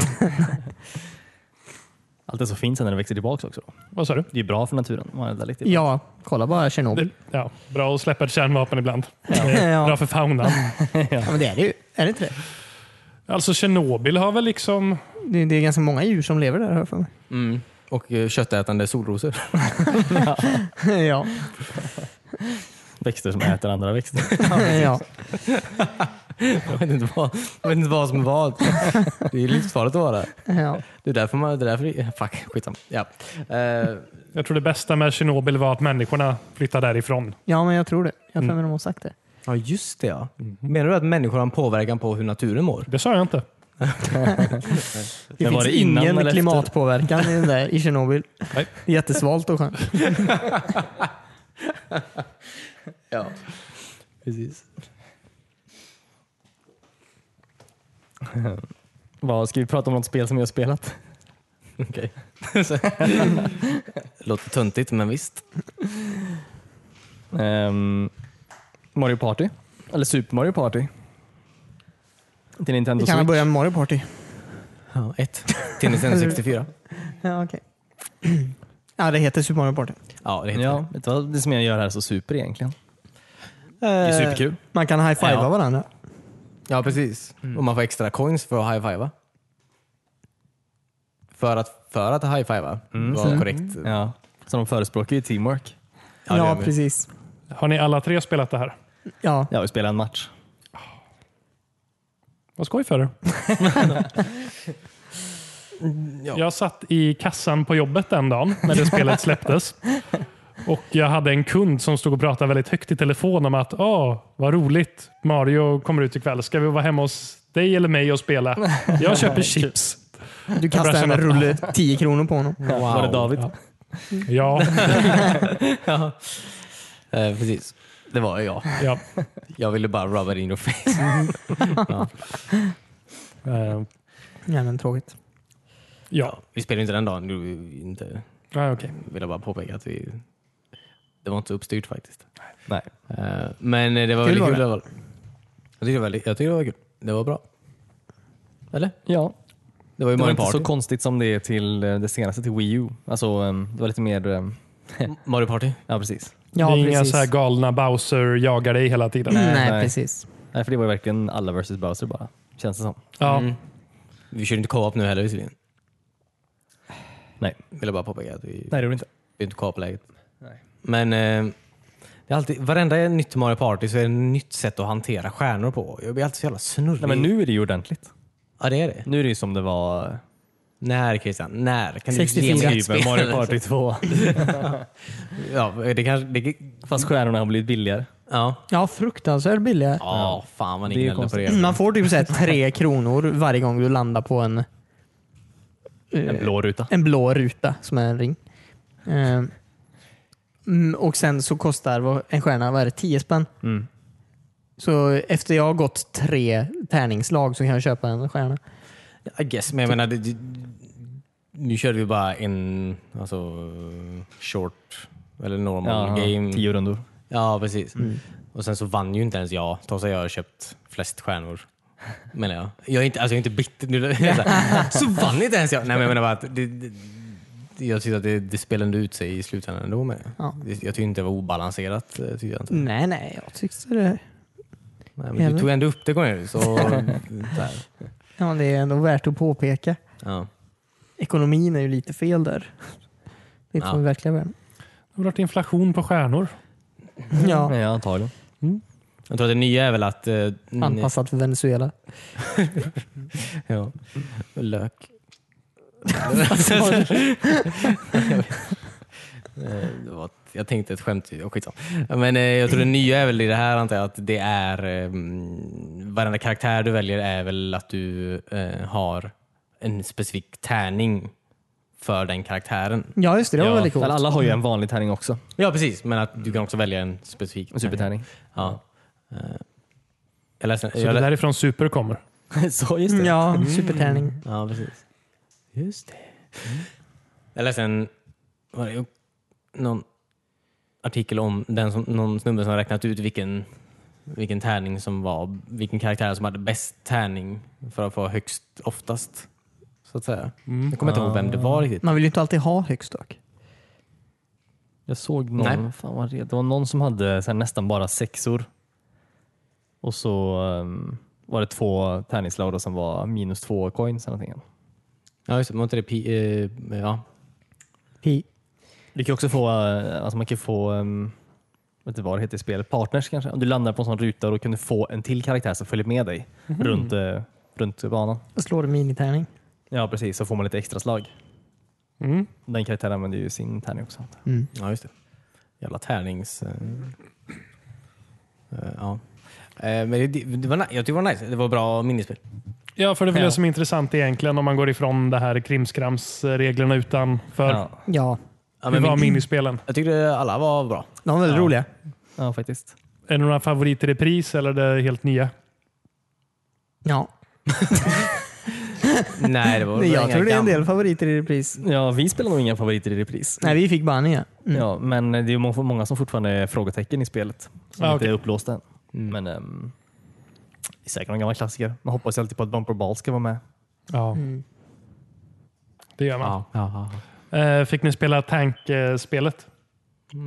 Allt är så fint sen när det växer tillbaka också.
Vad sa du?
Det är ju bra för naturen. om Man eldar lite.
Ja, kolla bara Tjernobyl.
Det- Ja, bra att släppa ett kärnvapen ibland.
*laughs* Ja.
Bra för faunan.
Ja, men det är det ju. Är det inte det?
Alltså Tjernobyl har väl liksom...
Det, det är ganska många djur som lever där, har jag för mig.
Mm. Och eh, köttätande solrosor.
*laughs*
*laughs*
ja.
Växter som äter andra växter. *laughs*
ja.
Jag vet inte vad, jag vet inte vad som är vad. *laughs* Det är ju livsfarligt att vara där.
ja.
Det är därför man... Det *laughs* är därför, fuck, skitsamma. Ja. Eh,
Jag tror det bästa med Tjernobyl var att människorna flyttade därifrån.
Ja, men jag tror det. Jag har för mig de har sagt det.
ja, just det ja. Menar du att människor har en påverkan på hur naturen mår?
Det sa jag inte.
Det
Men var
finns
det innan eller
ingen
efter?
klimatpåverkan i, den där, i Tjernobyl.
Nej.
Jättesvalt och skönt.
Ja, precis.
Vad, ska vi prata om något spel som jag har spelat?
Okej. *laughs* Låter töntigt, men visst.
Ehm, Mario Party. Eller Super Mario Party. Till Nintendo
Vi kan väl
Switch.
börja med Mario Party.
Ja, ett. Till Nintendo 64.
Ja, okej. *clears throat* ja, det heter Super Mario Party.
Ja, det heter
Ja, vet du vad? Det som jag gör här är så super egentligen. Det är
det. Eh,
superkul.
Man kan high-fivea
Ja.
varandra.
Ja, precis. Och man får extra coins för att high-fivea. För att, för att high-fivea var korrekt.
Ja. Så de förespråkar ju teamwork.
Ja, det
Ja,
gör vi.
precis.
Har ni alla tre spelat det här?
Ja.
Ja, vi spelar en match.
Vad skoj *laughs* för er. Jag satt i kassan på jobbet den dagen när det spelet släpptes. Och jag hade en kund som stod och pratade väldigt högt i telefon om att åh, vad roligt, Mario kommer ut ikväll. Ska vi vara hemma hos dig eller mig och spela? Jag köper chips.
Du kastar en
känner-
rulle 10 kronor på honom.
*laughs* Wow.
Var det David?
Ja,
Eh, precis. Det var ju jag.
ja.
Jag ville bara rubba it in your face.
Eh,
Ja, men tråkigt.
ja.
Vi spelade inte den dagen. Det gjorde vi Inte,
Ah, okej.
ville bara påpeka att vi... Det var inte så uppstyrt faktiskt.
Nej.
Eh, Men eh, det var
Kul
väldigt
var
kul.
det.
i alla fall. Jag tyckte, det var väldigt, jag tyckte det var kul. Det var bra. Eller?
Ja,
Det var ju
det var
Mario
inte
Party.
så konstigt som det är till eh, det senaste, till Wii U. Alltså, ehm, det var lite mer... ehm,
Mario Party.
Ja, precis.
Ja,
det är inga
precis.
så
*clears throat*
här galna Bowser jagar dig hela tiden.
Nej,
nej.
precis.
Nej, för det var ju verkligen alla versus Bowser bara, känns det som.
Ja.
Vi kör inte co-op nu heller visserligen.
Nej,
Ville bara påpeka att vi
Nej det gjorde inte.
vi är inte co-op-läget.
Nej.
Men eh, det är alltid, varenda nytt Mario Party så är det ett nytt sätt att hantera stjärnor på. Jag blir alltid så jävla snurrig.
Nej, men nu är det ju ordentligt.
Ja, det är det.
Mm. Nu är det ju som det var
När Christian? När? Kan du
64
ge mig
typ med
spelen?
Mario Party 2.
Ja, det kanske... Det,
Fast stjärnorna har blivit billigare.
ja.
Ja, fruktansvärt billiga.
Ja, fan vad
Det är
ni gnällde på
konstigt.
det.
Man får typ så här tre kronor varje gång du landar på en,
En
eh,
blå ruta.
en blå ruta som är en ring. Eh, mm, och sen så kostar vad- en stjärna, vad är det, 10 spänn?
Mm.
Så efter jag har gått tre tärningslag så kan jag köpa en stjärna.
I guess, men jag menar, det, det, nu körde vi bara en alltså, short eller normal
Ja,
game.
tio rundor.
Ja, precis. Och sen så vann ju inte ens jag, trots att jag har köpt flest stjärnor. Menar jag. Jag är inte, alltså jag är inte bitter. Nu, *laughs* så, här, så vann inte ens jag! Nej, men jag menar bara att det, det, jag tyckte att det, det spelade ut sig i slutändan ändå med.
Ja. Mm.
Det- Jag tyckte inte det var obalanserat. eh, Tyckte jag inte.
Nej, nej, jag tyckte det.
Nej, men du
Eller?
tog ändå upp det gången. Så, så här.
Ja, det är ändå värt att påpeka.
Ja.
Ekonomin är ju lite fel där. Det är
Ja.
från verkliga världen.
Det har varit inflation på stjärnor.
Ja,
Ja, antagligen.
Jag tror att det nya är väl att... eh,
anpassat för Venezuela.
Ja. Lök. Eh, *laughs* det var ett- jag tänkte ett skämt, ju. Ja, skitsamma. Men eh, jag tror det nya är väl i det här antar jag, att det är eh, mm, varenda karaktär du väljer är väl att du eh, har en specifik tärning för den karaktären.
Ja, just det. Det var
Ja,
väldigt coolt.
eller Alla har ju en vanlig tärning också.
Ja precis, men att du kan också välja en specifik
En supertärning.
Ja. Eh, Jag läste,
Så
jag
det
lä-
därifrån super kommer.
*laughs* så just
Mm.
det.
Ja, supertärning.
Ja, precis. Just det. Jag läste en, var det, någon artikel om den som, någon snubbe som har räknat ut vilken, vilken tärning som var, vilken karaktär som hade bäst tärning för att få högst oftast. Så att säga. Jag kommer inte ihåg vem det var riktigt.
Man vill ju inte alltid ha högst dock.
Jag såg någon,
Nej.
fan vad det, det var någon som hade så här, nästan bara sexor. Och så ehm, var det två tärningslag då som var minus två coins. eller någonting.
Ja, just det. Var inte det pi, eh, ja.
Pi.
Du kan också få, eh, alltså man kan få, um, vet inte vad det heter i spelet, partners kanske. Om du landar på en sån ruta då kan du få en till karaktär som följer med dig runt, eh, runt banan.
Jag slår en minitärning.
Ja precis, så får man lite extra slag.
Mm.
Den karaktären använder ju sin tärning också.
ja, just det. Jävla tärnings... Eh, eh, ja. Eh, men det, det var, ni- jag tyckte det var nice. Det var bra minispel.
Ja, för det är väl
Ja.
det som är intressant egentligen om man går ifrån det här krimskramsreglerna utan för
Ja,
Ja,
Ja,
hur
men
var
min-
minispelen?
Jag tyckte alla var bra.
de var väldigt
Ja.
roliga.
ja faktiskt.
Är det några favoriter i pris eller är det helt nya?
Ja,
Nej, det var
*laughs* Nej, jag
inga
tror det är en
gamla-
del favoriter i repris.
Ja, vi spelar nog inga favoriter i repris.
Nej, vi fick bara nya.
Ja, men det är ju må- många som fortfarande är frågetecken i spelet. Som
Ja,
inte
okej.
är upplåsta än. Men ehm, det är säkert någon gammal klassiker. Man hoppas ju alltid på att Bumper Ball ska vara med.
Ja, det gör man.
Ja, ja, ja.
Eh, Fick ni spela
Nej,
tankspelet?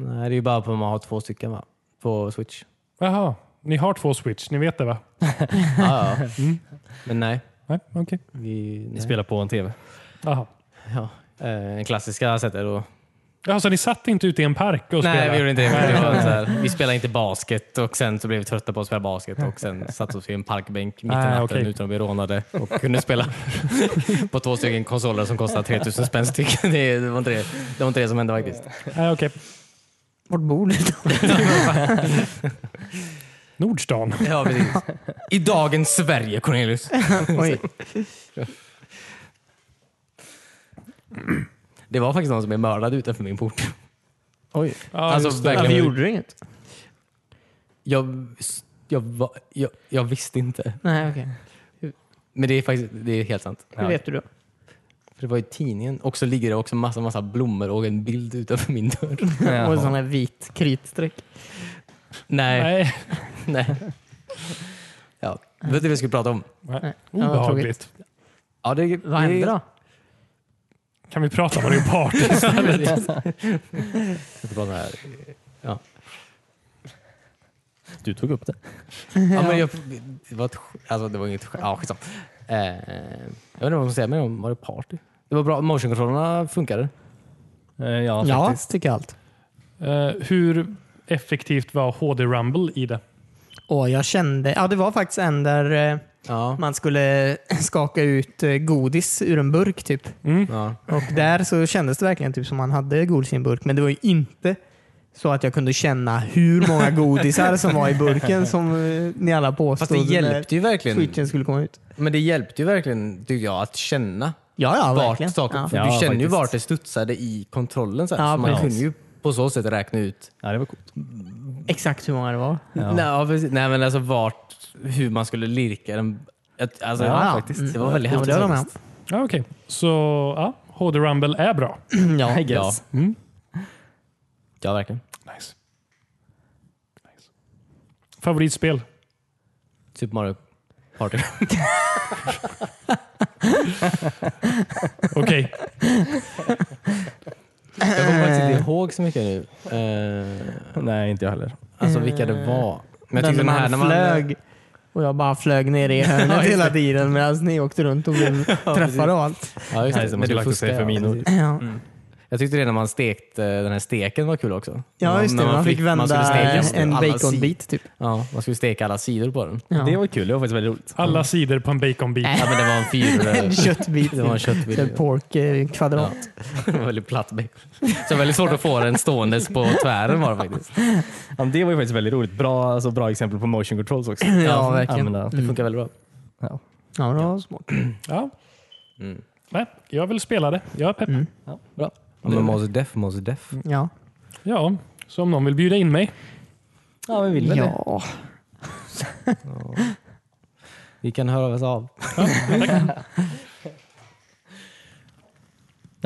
Mm, det är ju bara på att man har två stycken va? På Switch.
Jaha, ni har två switch, ni vet det va?
*laughs* Ja, ja. Men nej.
Nej, okej.
Vi,
Vi
nej.
spelar på en TV.
Jaha.
Ja. Eh, en klassiska sättet då.
Ja, så ni satt inte ute i en park och spelade?
Nej, vi gjorde inte det. det var så *laughs* här, vi spelade inte basket och sen så blev vi trötta på att spela basket och sen satte oss i en parkbänk mitt i
Ah,
natten
okej.
utan att bli rånade och kunde spela *laughs* på två stycken konsoler som kostade 3000 spänn styck. Det, det, var inte det, det var inte det som hände faktiskt.
Nej, okej.
Vart bor du? då?
Nordstan.
Ja, precis. I dagens Sverige, Cornelius.
*laughs* Oj.
Det var faktiskt någon som blev mördad utanför min port.
Oj.
Ja,
Alltså,
just det.
verkligen.
Varför gjorde du inget?
Jag, jag, var- jag, jag visste inte.
Nej, okej.
Men det är faktiskt det är helt sant.
Hur vet du då?
För det var i tidningen och så ligger det också massa, massa blommor och en bild utanför min dörr.
Och en sån här vit kritstreck.
Nej,
Nej,
nej. Ja. Vet du vad vi skulle prata om?
Nej, det var
obehagligt.
Ja, det,
Vad
*laughs*
hände då?
Kan vi prata om Mario Party?
Jag ska prata här.
Du tog upp det.
Ja, men jag, det, var ett, sk- alltså, det var inget skämt. Ja, skitsamma. Eh, jag vet inte vad man ska säga mer om Mario Party. Det var bra. Motionkontrollerna funkade.
Eh, Ja,
Ja,
faktiskt.
tycker allt.
Eh, hur effektivt var HD Rumble i det?
Och jag kände, ja det var faktiskt en där eh,
Ja.
Man skulle *laughs* skaka ut eh, godis ur en burk typ.
ja.
Och där så kändes det verkligen typ som man hade godis i en burk. Men det var ju inte så att jag kunde känna hur många godisar som var i burken som eh, ni alla påstod
Fast det
när
hjälpte ju verkligen.
switchen skulle komma ut.
Men det hjälpte ju verkligen, tycker jag, att känna
Ja, ja,
vart
verkligen.
saker...
Ja.
för
Ja,
du känner ju
faktiskt.
vart det studsade i kontrollen. Så här.
Ja,
så man
precis.
kunde ju på så sätt räkna ut
Ja, det var coolt.
Exakt hur många det var.
Ja.
Nej, ja, precis. Nej men alltså vart, hur man skulle lirka den. Att- Alltså,
Ja,
ja,
ja.
faktiskt. Det
Mm.
var väldigt
Ja,
häftigt.
det var de med.
faktiskt.
Ja, okej. Så ja, HD Rumble är bra.
*laughs* Ja,
Ja.
Mm.
ja, verkligen.
Nice. nice. Favoritspel?
Super Mario
*laughs*
Party. *laughs*
Okej.
jag kommer faktiskt inte ihåg så mycket nu. Eh,
Nej, inte jag heller.
alltså vilka det var. Men
den Eh, man flög och jag bara flög ner *laughs* i hörnet hela tiden medan ni åkte runt och *laughs* blev träffade och allt.
Ja, just
Nej,
det.
så
Men
måste
du
jag lagt och
fuskar,
säga för
ja.
minor.
Ja.
Jag tyckte det när man stekte den här steken var kul också.
Ja,
När
just det.
när
Man, fick
flipp- man skulle
vända
steka
en
alla
baconbit typ.
si- Ja, man skulle steka alla sidor på den.
Ja.
Det var kul. Det var faktiskt väldigt roligt.
Alla sidor på en baconbit.
Ja, men det var en *laughs*
*laughs* en
fyr... eh,
köttbit.
det var en köttbit.
En pork eh, kvadrat.
Det var *laughs* väldigt platt bacon. Så väldigt svårt att få den ståendes på tvären var det faktiskt.
Ja, men det var ju faktiskt väldigt roligt. Bra, alltså, bra exempel på motion controls *clears throat* också.
Ja, verkligen.
använda.
Det funkar väldigt bra.
Ja.
Ja, men det var smart.
Ja.
Mm.
Nej, jag vill spela det. Jag är pepp.
Ja, bra.
Ja, men Mos Def, Mos Def.
Ja.
Ja, så om någon vill bjuda in mig.
Ja, men vill väl det.
ja.
Vi kan höra oss av.
Ja,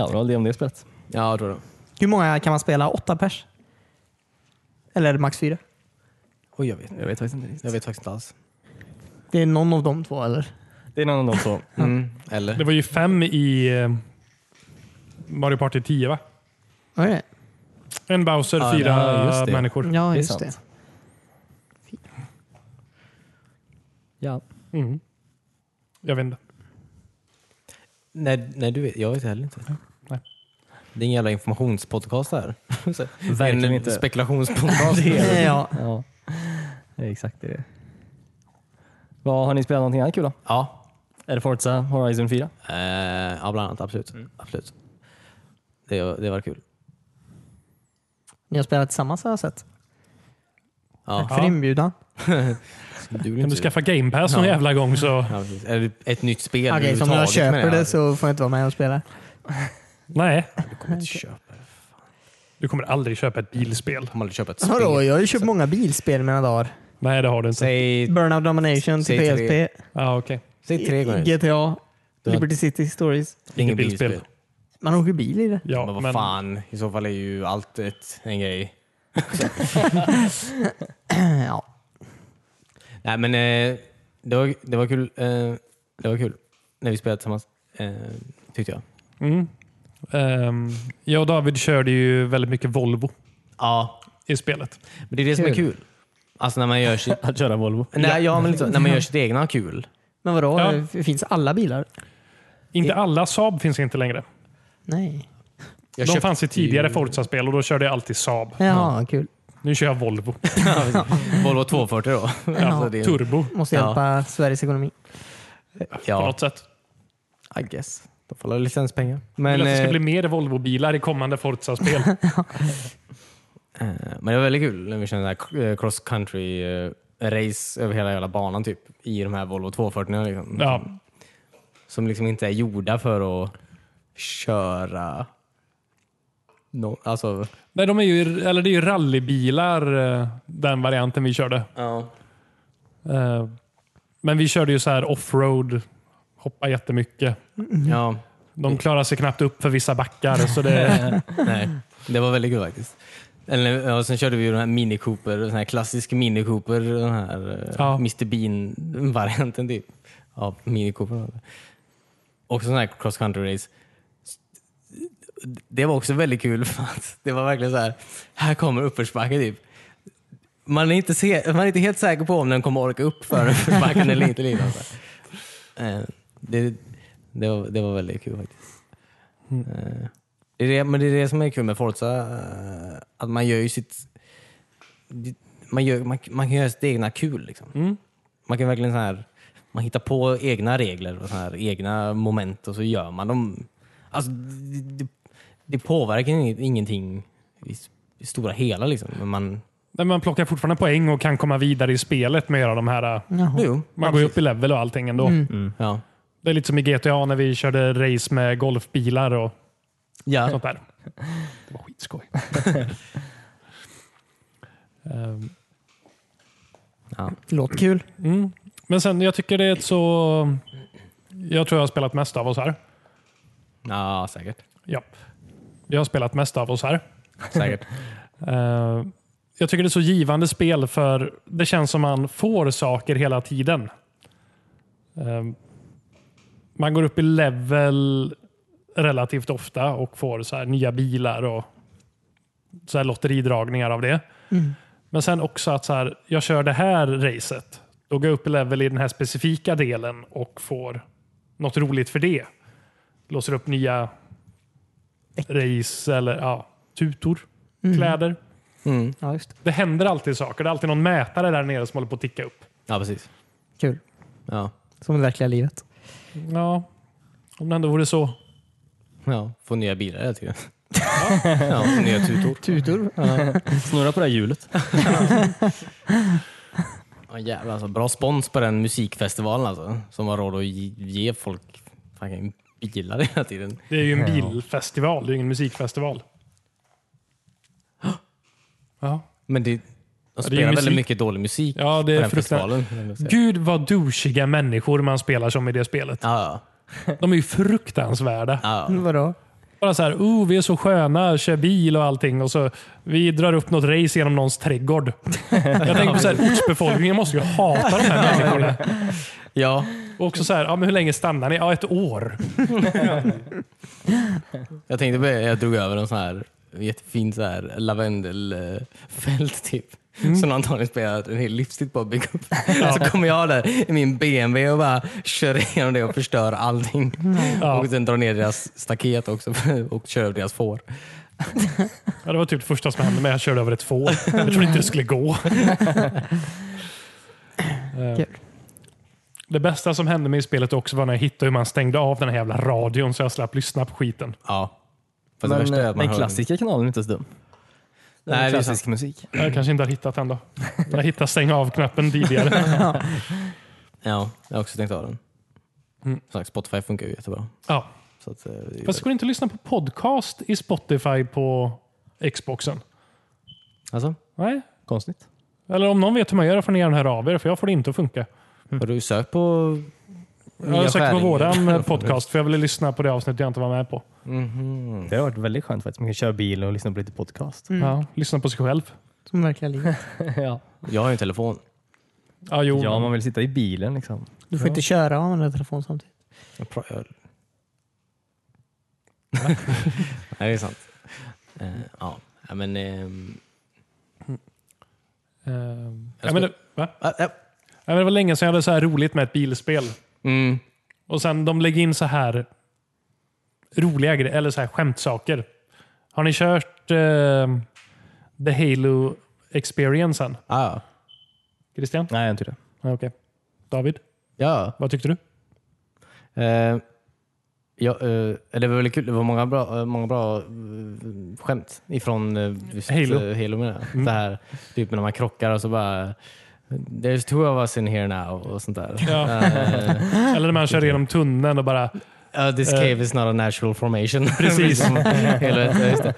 det var det om det spelet.
Ja, jag tror det.
Hur många kan man spela? Åtta pers? Eller är det max fyra?
Oj, jag vet.
Jag vet faktiskt inte riktigt.
Jag vet faktiskt inte alls.
Det är någon av de två eller?
Det är någon av de två.
Mm. Eller?
Det var ju fem i eh, Mario Party 10 va?
Vad är det?
En Bowser,
Ja,
fyra
ja, just det.
människor.
Ja,
är
just
sant.
det.
*clears throat* Ja.
Mm. Jag vet inte.
Nej, nej du vet, jag vet heller inte.
Nej.
Det är ingen jävla informationspodcast det här. Så,
Verkligen
en
inte.
*laughs* spekulationspodcast.
Ja.
ja. Det är exakt det. Vad Har ni spelat någonting annat kul då?
ja.
Är det Forza Horizon 4?
Eh, ja, bland annat. Absolut. absolut. Det, det var kul.
Ni har spelat tillsammans har jag sett.
Ja.
Tack för inbjudan.
Du vill
Kan du
inte-
skaffa Game Pass någon
Ja.
jävla
*laughs*
gång så...
Ja, precis. Eller ett nytt spel
Okej, så om jag
överhuvudtaget, menar
köper
jag.
det så får jag inte vara med och spela.
Nej,
Du kommer inte köpa det.
du kommer aldrig köpa ett bilspel.
Du kommer aldrig köpa ett spel.
Vadå, jag har ju köpt många bilspel i mina dagar.
Nej, det har du inte.
Säg,
Burnout Domination till
Säg tre.
PSP,
Ja, okej.
säg tre gånger.
GTA,
Du har-
Liberty City Stories.
Ingen
Inget bilspel.
bilspel.
Man åker bil i det.
Ja,
men vad fan, i så fall är ju allt ett, en grej.
*laughs* Ja.
Nej men eh, det, var, det var kul. Eh, det var kul när vi spelade tillsammans. Eh, tyckte jag.
Mm. Ehm, jag och David körde ju väldigt mycket Volvo
Ja,
i spelet.
men det är det som är kul. Alltså när man gör
*laughs*
sitt,
Att köra Volvo?
nej, ja, men liksom, när man gör sitt egna kul.
Men vadå,
Ja.
det finns alla bilar?
Inte alla Saab finns inte längre.
Nej.
Jag
De
köpte
fanns i tidigare
ju
Forza-spel och då körde jag alltid Saab.
Jaha, kul.
Nu kör jag Volvo.
Volvo 240 då. *laughs* Alltså, det är-
Turbo
Måste
Ja.
hjälpa Sveriges ekonomi.
på
Ja,
något sätt.
I guess. Då får jag licenspengar.
Men,
Men,
att det ska
eh,
bli mer Volvo-bilar i
*laughs*
kommande Forza-spel.
Eh, Men det var väldigt kul när vi körde den här cross country eh, race över hela jävla banan typ i de här Volvo 240 liksom,
ja.
som liksom inte är gjorda för att köra no, alltså,
Nej, de är ju, eller det är ju rallybilar, eh, den varianten vi körde.
ja.
Eh, Men vi körde ju så här offroad, hoppa jättemycket.
ja. Mm.
De klarar sig knappt upp för vissa backar.
*laughs*
Så det,
Nej, det var väldigt kul faktiskt. Eller, ja, sen körde vi ju den här Mini Cooper, den här klassisk Mini Cooper, den här eh,
Ja.
Mr Bean-varianten typ. Ja, Mini Cooper. var det. Också sån här cross country race. Det var också väldigt kul *laughs* för att det var verkligen så här, här kommer uppförsbacke typ. Man är, inte se, man är inte helt säker på om den kommer orka upp för *laughs* uppförsbacken eller inte. Liksom. så här. Eh, Det, det, var, det var väldigt kul faktiskt. Eh, det är det, men det är det som är kul med Forza. eh, Att man gör ju sitt... Mm. Man, gör, man, man kan göra sitt egna kul. Liksom. Man kan verkligen så här... Man hittar på egna regler och så här, egna moment och så gör man dem. Alltså, det, det, det påverkar inget- ingenting i s- i stora hela. Liksom. Men man,
Nej, men man plockar fortfarande poäng och kan komma vidare i spelet med att göra de här... äh,
Jaha.
jo,
Man går ju upp i level och allting
Mm.
ändå.
ja.
Det är lite som i GTA när vi körde race med golfbilar *laughs* och
Ja.
sånt där. Det var skitskoj. *laughs* Ehm,
Låter kul.
mm. Men sen, jag tycker det är ett så... Jag tror jag har spelat mest av oss här.
ja, säkert.
Ja. Jag har spelat mest av oss här.
säkert.
Eh, jag tycker det är så givande spel för det känns som man får saker hela tiden. Eh, man går upp i level relativt ofta och får så här nya bilar och så här lotteridragningar av det.
Mm.
Men sen också att så här, jag kör det här racet. Då går jag upp i level i den här specifika delen och får något roligt för det. Låser upp nya race eller ja, tutor,
Mm.
kläder.
Mm.
Ja, just det.
Det händer alltid saker. Det är alltid någon mätare där nere som håller på att ticka upp.
Ja, precis.
Kul.
Ja.
Som i verkliga livet.
Ja, om det ändå vore så.
Ja, få nya bilar hela tiden. *laughs* Ja. och nya tutor.
Tutor.
Snurra på det här hjulet.
Ja, jävlar, alltså, bra spons på den musikfestivalen alltså, som har råd att ge- ge folk fucking bilar hela tiden.
Det är ju en bilfestival, det är ju ingen musikfestival. Ja.
Men det, de
ju
spelar väldigt
musik.
mycket dålig musik
Ja, det
på
är
den
fruktansvärt.
festivalen. kan jag säga.
Gud vad douchiga människor man spelar som i det spelet.
Ja,
De är ju fruktansvärda.
ja, ja.
*laughs* Vadå?
Bara så här, oh, vi är så sköna, kör bil och allting. Och så, vi drar upp något race genom
*laughs*
någons trädgård. Jag tänker på så här, ortsbefolkningen måste ju hata de här människorna.
ja.
Och också så här, ja, men hur länge stannar ni? Ja, ett år.
Jag tänkte på det, jag drog över en sån här jättefin så här lavendelfält typ.
Mm.
Som de antagligen spelat en hel livstid på att bygga upp. Så kommer jag där i min BMW och bara kör igenom det och förstör allting.
Mm. Ja.
Och sen drar ner deras staket också *laughs* och kör över deras får.
Ja, det var typ det första som hände mig. Jag körde över ett får. Jag trodde inte det skulle gå. Eh,
Kul.
det bästa som hände mig i spelet också var när jag hittade hur man stängde av den här jävla radion så jag slapp lyssna på skiten.
Ja. Fast det
Men
värsta är
eh,
att man
den
hör-
klassiska kanalen är inte så dum. Den
Nej, det är
klassisk musik.
Jag kanske inte har hittat den då. Jag hittade stäng av-knappen tidigare.
Ja, jag har också tänkt av den. Som sagt, Spotify funkar ju jättebra.
Ja.
Så att, eh, det-
Fast går det inte att lyssna på podcast i Spotify på Xboxen?
alltså,
Nej.
Konstigt.
Eller om någon vet hur man gör får ni gärna höra av er, för jag får det inte att funka.
har du sökt på
Jag har
Nya
sökt på
skäringar.
våran podcast, för jag ville lyssna på det avsnitt jag inte var med på.
Mhm.
Det har varit väldigt skönt faktiskt. Man kan köra bil och lyssna på lite podcast.
Mm.
Ja, lyssna på sig själv.
Som i verkliga livet.
*laughs* ja.
Jag har ju en telefon.
Ja, jo.
ja, man vill sitta i bilen liksom.
Du får inte köra och använda telefon samtidigt.
Jag pra- jag... *laughs* Nej, det är sant. Eh, ja. ja, men... ehm,
Eh, ja,
ska-
men det, va?
ah, ja.
Ja, men det var länge sedan jag hade så här roligt med ett bilspel.
Mm.
Och sen de lägger in så här roliga grejer, eller så här skämtsaker. Har ni kört eh, The Halo Experiencen?
Ah, ja.
Christian?
Nej, jag har inte det.
Ja, Okej. David,
ja.
vad tyckte du?
Eh, ja, eh, det var väldigt kul. Det var många bra, eh, många bra eh, skämt ifrån eh, just,
Halo. Mm.
eh, Halo menar jag. Det här typ när man krockar och så bara There's two of us in here now och sånt där. *laughs*
Ja.
Eh,
Eller när man kör genom tunneln och bara...
uh, this
Eh.
cave is not a natural formation.
*laughs*
*laughs*
Precis.
Helvete, just det.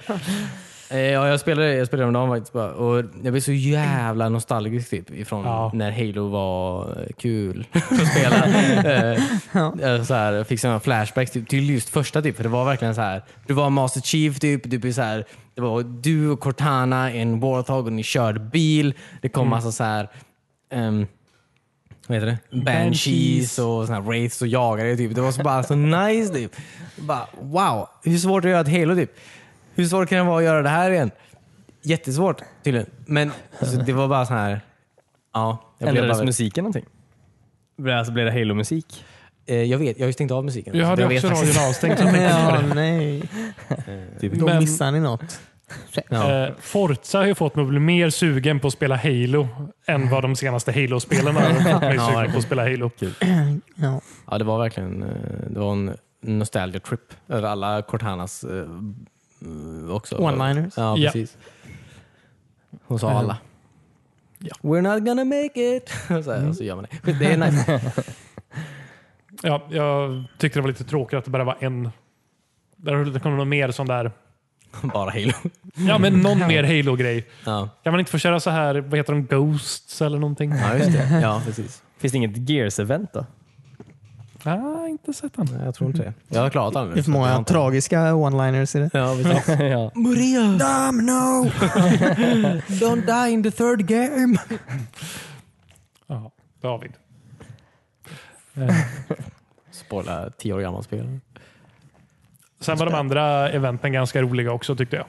Eh, Ja, jag spelade, jag spelade häromdagen faktiskt bara, och jag blev så jävla nostalgisk typ ifrån
Ja.
när Halo var eh,
*laughs*
kul att spela. Eh, eh, så här, jag fick sådana flashbacks typ, till just första typ, för det var verkligen så här. Du var Master Chief typ, du blev så här, det var du och Cortana, en Warthog och ni körde bil. Det kom
Mm.
massa så här ehm, vad heter det? Banshees
Banshees.
och såna här wraiths och jagare. Typ. Det var så bara så nice. Typ. Bara, wow, hur svårt är det att göra ett Halo? Typ? Hur svårt kan det vara att göra det här igen? Jättesvårt tydligen. Men alltså, det var bara så här. Ja, jag, blev
Ändrades
bara,
musiken någonting? Alltså, blev det Halo-musik?
eh, jag vet, jag har ju stängt av musiken.
Jag
Så
hade
jag vet *laughs*
också
faktiskt-
radion avstängd. så jag tänkte på
Ja,
det.
nej. Då
Men-
missar ni något.
Ja.
Eh, Forza har ju fått mig att bli mer sugen på att spela Halo än vad de senaste Halo-spelen har fått mig sugen på att spela Halo.
Ja.
Ja, det var verkligen eh, det var en nostalgia trip över alla Cortanas eh, också.
One-liners.
Ja,
Ja.
precis. Hon sa alla. We're not gonna make it. *laughs* Så, här, och så gör man det. Det är *laughs* nice.
Ja, jag tyckte det var lite tråkigt att det bara var en. Där det kom någon mer sån där.
Bara Halo.
Ja, *laughs* men någon mer Halo-grej.
Ja,
Kan man inte få köra så här, vad heter de, Ghosts eller någonting?
ja just det. Ja, precis.
Finns det inget Gears-event *laughs* då?
Ah, inte sett den.
Nej, jag tror inte det. Mm. Jag har klarat den.
Det är för många tragiska one-liners i det.
Ja, precis.
ja.
Maria! Damn no! *laughs* Don't die in the third game!
Ja, David. Eh,
Spoila tio år gammal spel.
Sen var de andra eventen ganska roliga också tyckte jag.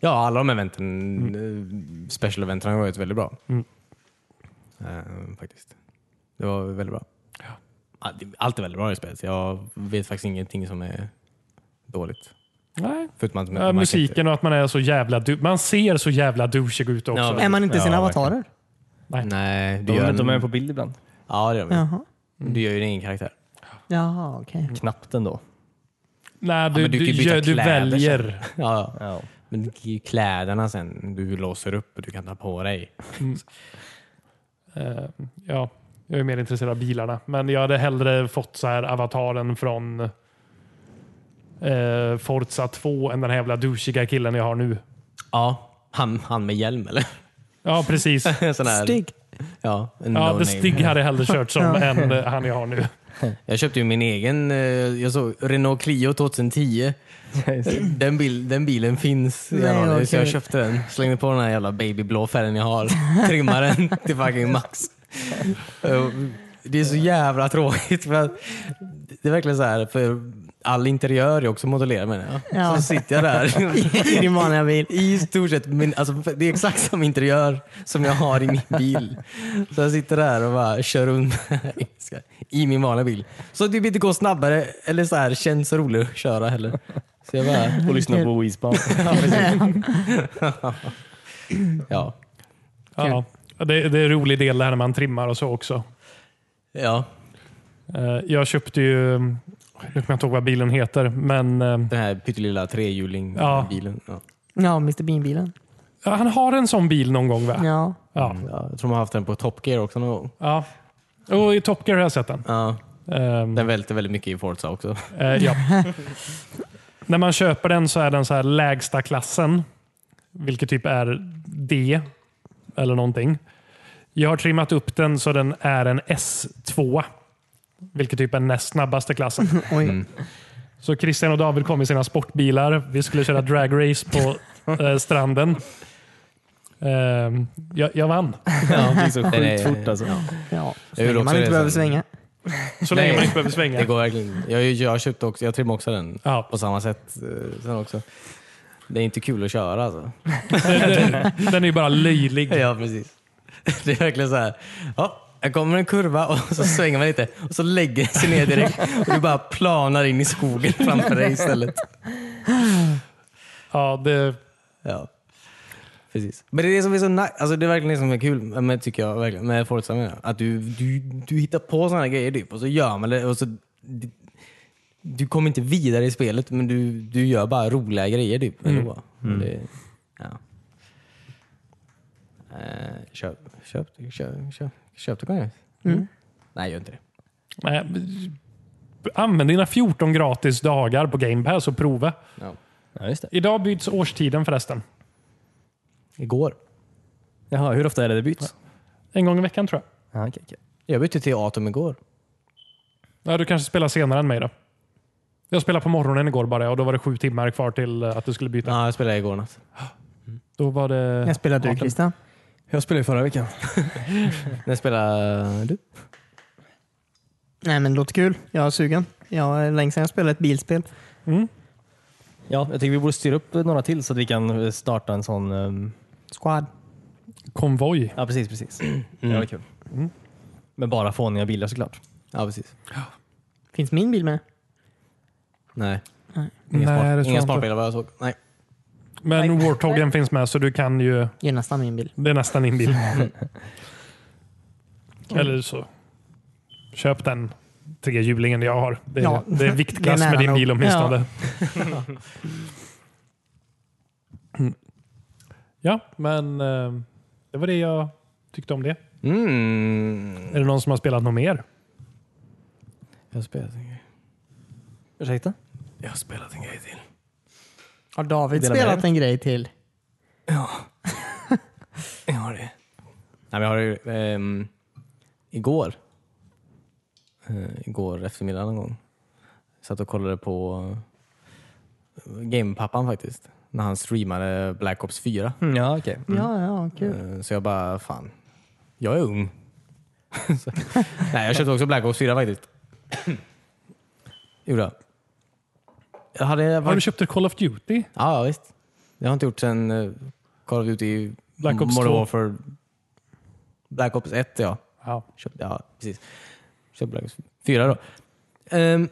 Ja, alla de eventen, eh, special eventen har varit väldigt bra.
Mm.
Eh, faktiskt. Det var väldigt bra. Ja, det- Allt är väldigt bra i spelet. Jag vet faktiskt ingenting som är dåligt.
Nej.
Förutom att
Ja, Eh, musiken och att man är så jävla du- Man ser så jävla douchig ut också.
Ja,
Är man inte
Ja,
sina
verkligen.
avatarer?
Nej, du
De
gör,
är de är
en,
på bild ibland.
ja, det gör man.
Jaha,
du gör ju din egen karaktär.
Jaha okej.
Mm.
Knappt ändå.
Nej, du,
men du
du,
kan ju byta
gör- du
kläder sen.
väljer.
Ja, ja.
Ja.
Men det är ju kläderna sen du låser upp och du kan ta på dig.
Eh, ja, jag är mer intresserad av bilarna. Men jag hade hellre fått så här avataren från eh, Forza 2 än den här jävla douchiga killen jag har nu.
Ja, han, han med hjälm eller? *laughs*
Ja, precis.
Sån här,
Stig.
Ja, en
Ja,
no name.
The Stig hade jag hellre kört som än eh, han jag har nu.
Jag köpte ju min egen, eh, jag såg Renault Clio 2010. Den, bil, den bilen finns i
Nej,
januari,
vad
så jag
kul.
köpte den. Slängde på den här jävla babyblå färgen jag har. *laughs* Trimmade den till fucking max. Eh, Det är så jävla tråkigt. För att det är verkligen så här, för all interiör är också modellerad menar jag.
Ja.
Så sitter jag där
*laughs* I din vanliga bil.
i stort sett, min, alltså, det är exakt samma interiör som jag har i min bil. Så jag sitter där och bara kör runt *laughs* i min vanliga bil. Så det inte går snabbare eller så här, känns roligare att köra heller. Så jag bara,
Och lyssna på Weezbound.
ja, precis. ja.
Ja, det, det är en rolig del det här när man trimmar och så också.
ja,
Eh, jag köpte ju, nu kommer jag inte ihåg vad bilen heter, men eh,
den här pyttelilla trehjuling-bilen. Ja.
Ja, Mr Bean-bilen.
han har en sån bil någon gång
Ah.
va?
Ja.
Ja.
Ja, jag tror man har haft den på Top Gear också någon gång.
ja. Och i Top Gear har jag sett den.
Ja,
Ehm,
den välter väldigt mycket i Forza också.
Eh, ja. När man köper den så är den så här lägsta klassen, vilket typ är D eller någonting. Jag har trimmat upp den så den är en S2, vilket typ är näst snabbaste klassen.
Oj.
Mm.
Så Christian och David kom i sina sportbilar. Vi skulle köra dragrace på eh, stranden. Ehm, jag, jag vann,
Ja, *laughs* det är så
Sjukt *laughs* fort alltså.
Ja.
Jag vill
Så
också
man inte
resa.
behöver svänga.
så länge
Nej.
man inte behöver svänga.
Det går verkligen. Jag, jag köpte också, jag trimmade också den
Ja.
på samma sätt eh, sen också. Det är inte kul att köra alltså.
Den är ju bara löjlig.
Ja, precis. Det är verkligen så här. Ja, här kommer en kurva och så svänger man lite och så lägger den sig ner direkt och du bara planar in i skogen framför dig istället.
Ja, det,
Ja. Precis. Men det är det som är så nice, alltså det är verkligen det som är kul med, tycker jag, verkligen, med Forza. menar jag. Att du, du, du hittar på sådana grejer typ, och så gör man det. Och så, du, du kommer inte vidare i spelet men du, du gör bara roliga grejer typ. ändå. Och Det, ja. eh, köp, köp, köp, köp, köp det kanske? Nej, gör inte det.
Nej, men- Använd dina 14 gratis dagar på Game Pass och prova.
Ja, just det.
Idag byts årstiden förresten.
Igår.
Jaha, hur ofta är det det byts?
En gång i veckan tror jag.
Ja, okej, okej.
Jag bytte till Atom igår.
Ja, du kanske spelar senare än mig då. Jag spelade på morgonen igår bara och då var det sju timmar kvar till eh, att du skulle byta.
Ja, jag spelade igår natt.
Då var det...
Jag spelar du
Arton.
Christian.
Jag spelade ju förra veckan.
När spelade du?
Nej men det låter kul. Jag är sugen. Jag är länge sedan jag spelade ett bilspel.
Ja, jag tycker vi borde styra upp några till så att vi kan eh, starta en sån... ehm,
Squad.
Konvoj.
Ja, precis. precis. Ja, det är kul. Men bara fåniga bilar såklart.
Ja, precis.
Finns min bil med?
Nej.
Nej,
Inga,
det
smart,
tror jag
inga
inte.
smartbilar vad jag såg. Nej.
Men Warthogen finns med så du kan ju...
Det är nästan min bil.
Det är nästan
*laughs*
din bil. Eller så köp den trehjulingen jag har. Det är,
Ja.
det är viktklass
Det är nära
med din
nog.
bil åtminstone. Ja. ja, men eh, det var det jag tyckte om det.
Mm.
Är det någon som har spelat något mer?
Jag har spelat en grej.
Ursäkta?
Jag har spelat en grej till.
Har David
Dela med
spelat en grej till?
Jag har det. Nej, men jag har det ju, ehm, igår. Eh, igår eftermiddag någon gång. Satt och kollade på eh, Gamepappan faktiskt. När han streamade Black Ops 4.
Mm, Ja, okej.
Mm.
Ja, ja, kul.
Eh, Så jag bara, fan, jag är ung. *laughs* Så- *laughs* Nej, jag köpte också Black Ops 4 faktiskt. *clears throat* Gjorde jag. jag. Hade
Har du
varit...
köpt ett Call of Duty?
Ja, ja, visst. Det har jag inte gjort sen eh, Call of Duty
Black Ops
Modern
2.
Warfare. Black Ops 1 ja.
Ja.
Köpte, ja, precis. Köpte Black Ops 4 då. Ehm,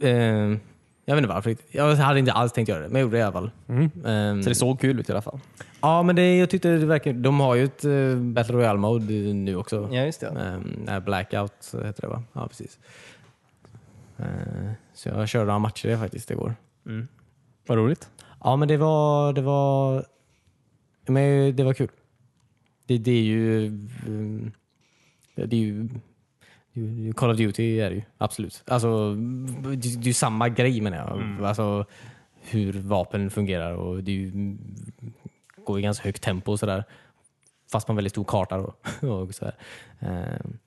ehm, jag vet inte varför. riktigt. Jag hade inte alls tänkt göra det, men jag gjorde det i alla fall. Ehm,
Mm. Så det såg kul ut i alla fall.
Ja, men det, jag tyckte det verkar... De har ju ett eh, Battle Royale-mode nu också.
Ja, just det.
Ehm, nej, Blackout heter det va? Ja, precis. Eh, så jag körde några matcher i det faktiskt igår.
Vad roligt.
Ja, men det var... Det var, men det var kul. Det, det är ju... mm, ja, det är ju... det är ju- Call of Duty är det ju, absolut. Alltså, det, det är ju samma grej menar jag. Alltså, hur vapen fungerar och det är ju, mm, går i ganska högt tempo och sådär. Fast på en väldigt stor karta då. *laughs* och, sådär. Ehm,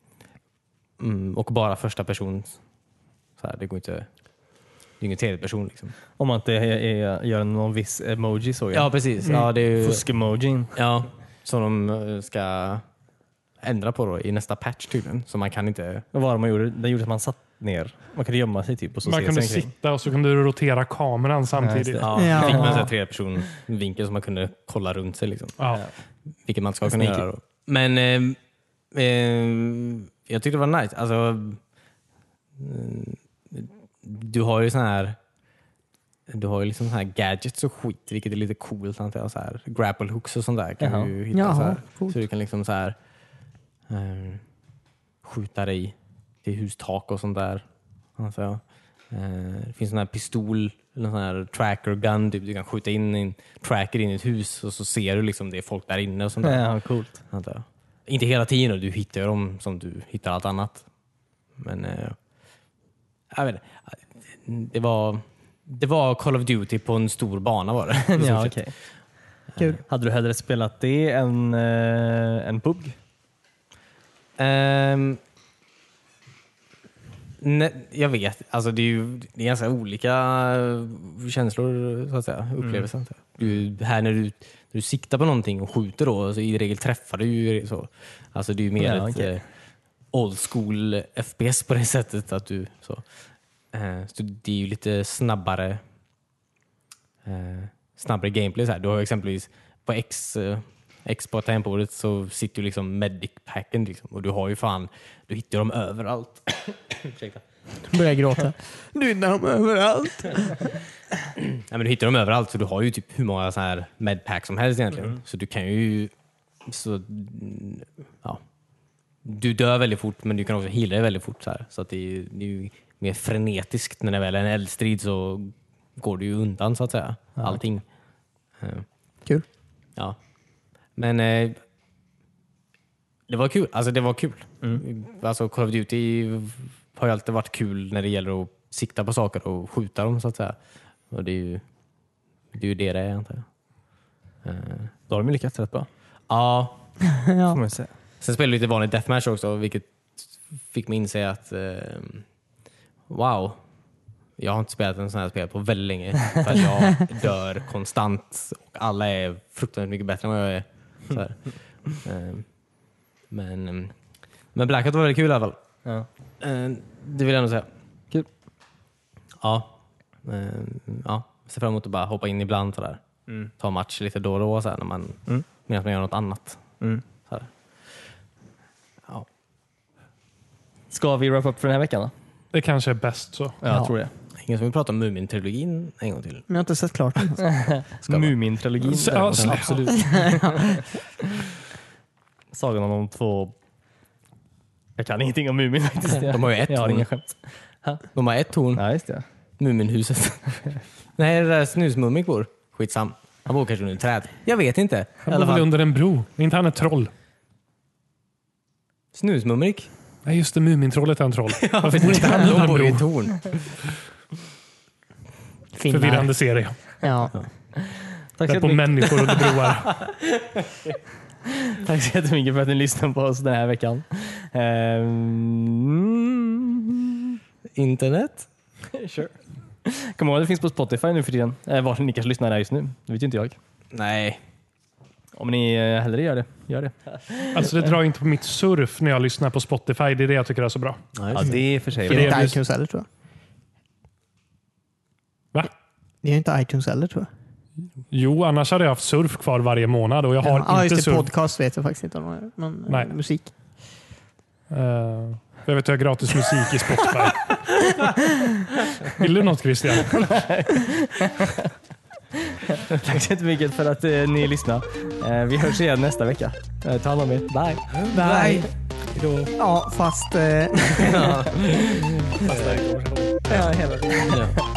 mm, och bara första person. Sådär, det går inte... Det är ingen tredje person liksom.
Om man inte är, är, gör någon viss emoji såg jag.
Ja, precis. Ja, det är ju,
Fusk-emojin.
Ja, *laughs* som de eh, ska ändra på då i nästa patch tydligen. Så man kan inte...
Vad var det man gjorde? Det gjorde att man satt ner. Man kunde gömma sig typ och så
Man
ses
kunde
omkring.
sitta och så kunde du rotera kameran samtidigt. Ja,
Ja,
Ja.
Fick man en sån här treperson-vinkel som man kunde kolla runt sig. Liksom. Vilket man ska kunna
Sneaky.
göra. Då. Men eh, eh, jag tyckte det var nice. Alltså, eh, du har ju sån här du har ju liksom sån här gadgets och skit, vilket är lite coolt. antar jag. Så här, grapple hooks och sånt där kan
Jaha.
du ju hitta.
Jaha,
så, här.
coolt.
så du kan liksom så här, eh, skjuta dig till hustak och sånt där. Antar jag. Eh, det finns sån här pistol, eller sån här tracker gun. Typ. Du kan skjuta in en tracker in i ett hus och så ser du liksom det är folk där inne och sånt där
Ja, coolt.
antar jag. Inte hela tiden, och du hittar ju dem som du hittar allt annat. Men eh, jag vet inte. det var, det var Call of Duty på en stor bana var det. *laughs* i
ja,
stort sett.
okej.
Kul.
Hade du hellre spelat det än eh, en PUBG?
Ehm, nej, jag vet, alltså det är ju det är ganska olika eh, känslor, så att säga,
Mm.
upplevelser. antar jag. Du, här när du, när du siktar på någonting och skjuter då, så i regel träffar du ju så. Alltså det är ju mer
Ja,
ett
okej.
eh, old school FPS på det *laughs* sättet. att du Så, Eh, så det är ju lite snabbare eh, snabbare gameplay. Så här. Du har ju exempelvis på X, eh, X på tangentbordet så sitter ju liksom medic-packen liksom, och du har ju fan, du hittar dem överallt. Ursäkta.
Börjar gråta. *laughs* Du hittar dem överallt.
Nej, men du hittar dem överallt så du har ju typ hur många så här medpack som helst egentligen. Så du kan ju... Så, mm, ja. Du dör väldigt fort men du kan också heala dig väldigt fort. Så, här. så att det, är, ju- det är ju mer frenetiskt när det väl är en eldstrid så går du ju undan så att säga. Allting. Eh,
Kul.
Ja. Men eh, det var kul. Alltså det var kul. Alltså Call of Duty har ju alltid varit kul när det gäller att sikta på saker och skjuta dem så att säga. Och det är ju det, är ju det, det är antar jag. Eh,
Då har de ju lyckats rätt bra.
ja,
Får man ju säga.
sen spelade vi lite vanligt deathmatch också vilket fick mig inse att eh, wow, jag har inte spelat en sån här spel på väldigt länge för att
*laughs*
jag dör konstant och alla är fruktansvärt mycket bättre än vad jag är. Så här. Eh, men, eh, men Blackout var väldigt kul i alla fall.
Ja.
Eh, Det vill jag nog säga.
Kul.
Ja. Eh, ja. Ser fram emot att bara hoppa in ibland sådär. Ta match lite då och då såhär, när man,
Mm.
medan man gör något annat.
Mm.
Såhär. Ja.
Ska vi wrap up för den här veckan? Då?
Det kanske är bäst så.
Ja,
Ja.
jag tror det.
Antingen så vill vi prata om Mumin-trilogin en gång till.
Men jag har inte sett klart den. alltså.
Mumin-trilogin.
Så-
däremot,
alltså-
absolut. *laughs* Sagan om de två... Jag kan ingenting om Mumin faktiskt.
De har ju ett
Jag har
torn.
inga skämt.
De har ett torn,
Ja, just det.
Muminhuset. *laughs* Nej, det där snusmumik bor. Skitsam. Han bor kanske under ett träd. Jag vet inte. I
Han
alla
bor väl
fall.
under en bro? Är inte han ett troll?
Snusmumrik.
Nej, just det. Mumintrollet är
*laughs*
en troll. Varför bor inte han under
De
en
bor i ett
bro?
torn.
Finnar.
*laughs* Förvirrande serie.
Ja.
Tack så,
Där på
jättemycket,
människor
*laughs*
under broar.
tack så jättemycket för att ni lyssnade på oss den här veckan. Ehm,
Internet.
sure. Kom ihåg att det finns på Spotify nu för tiden. Eh, Vart ni kanske lyssnar där just nu. Det vet ju inte jag.
Nej.
Om ni eh, hellre gör det, gör det. *laughs*
Alltså, det drar inte på mitt surf när jag lyssnar på Spotify. Det är det jag tycker är så bra.
Ja, det är för sig.
För
bra.
Det
det
är inte
är-
iTunes heller tror jag.
Va?
Det är inte iTunes heller tror jag.
Jo, annars hade jag haft surf kvar varje månad och jag har
ja,
inte
just det,
surf.
podcast vet jag faktiskt inte om det är, men eh,
Nej.
musik.
Eh, jag vet att jag har gratis musik i Spotify.
*laughs*
Vill du något Christian?
Tack så jättemycket för att eh, ni lyssnade. Eh, vi hörs igen nästa vecka. Eh, ta hand om er. Bye!
Nej. Ja, fast... Eh... ja, hela tiden.
Ja.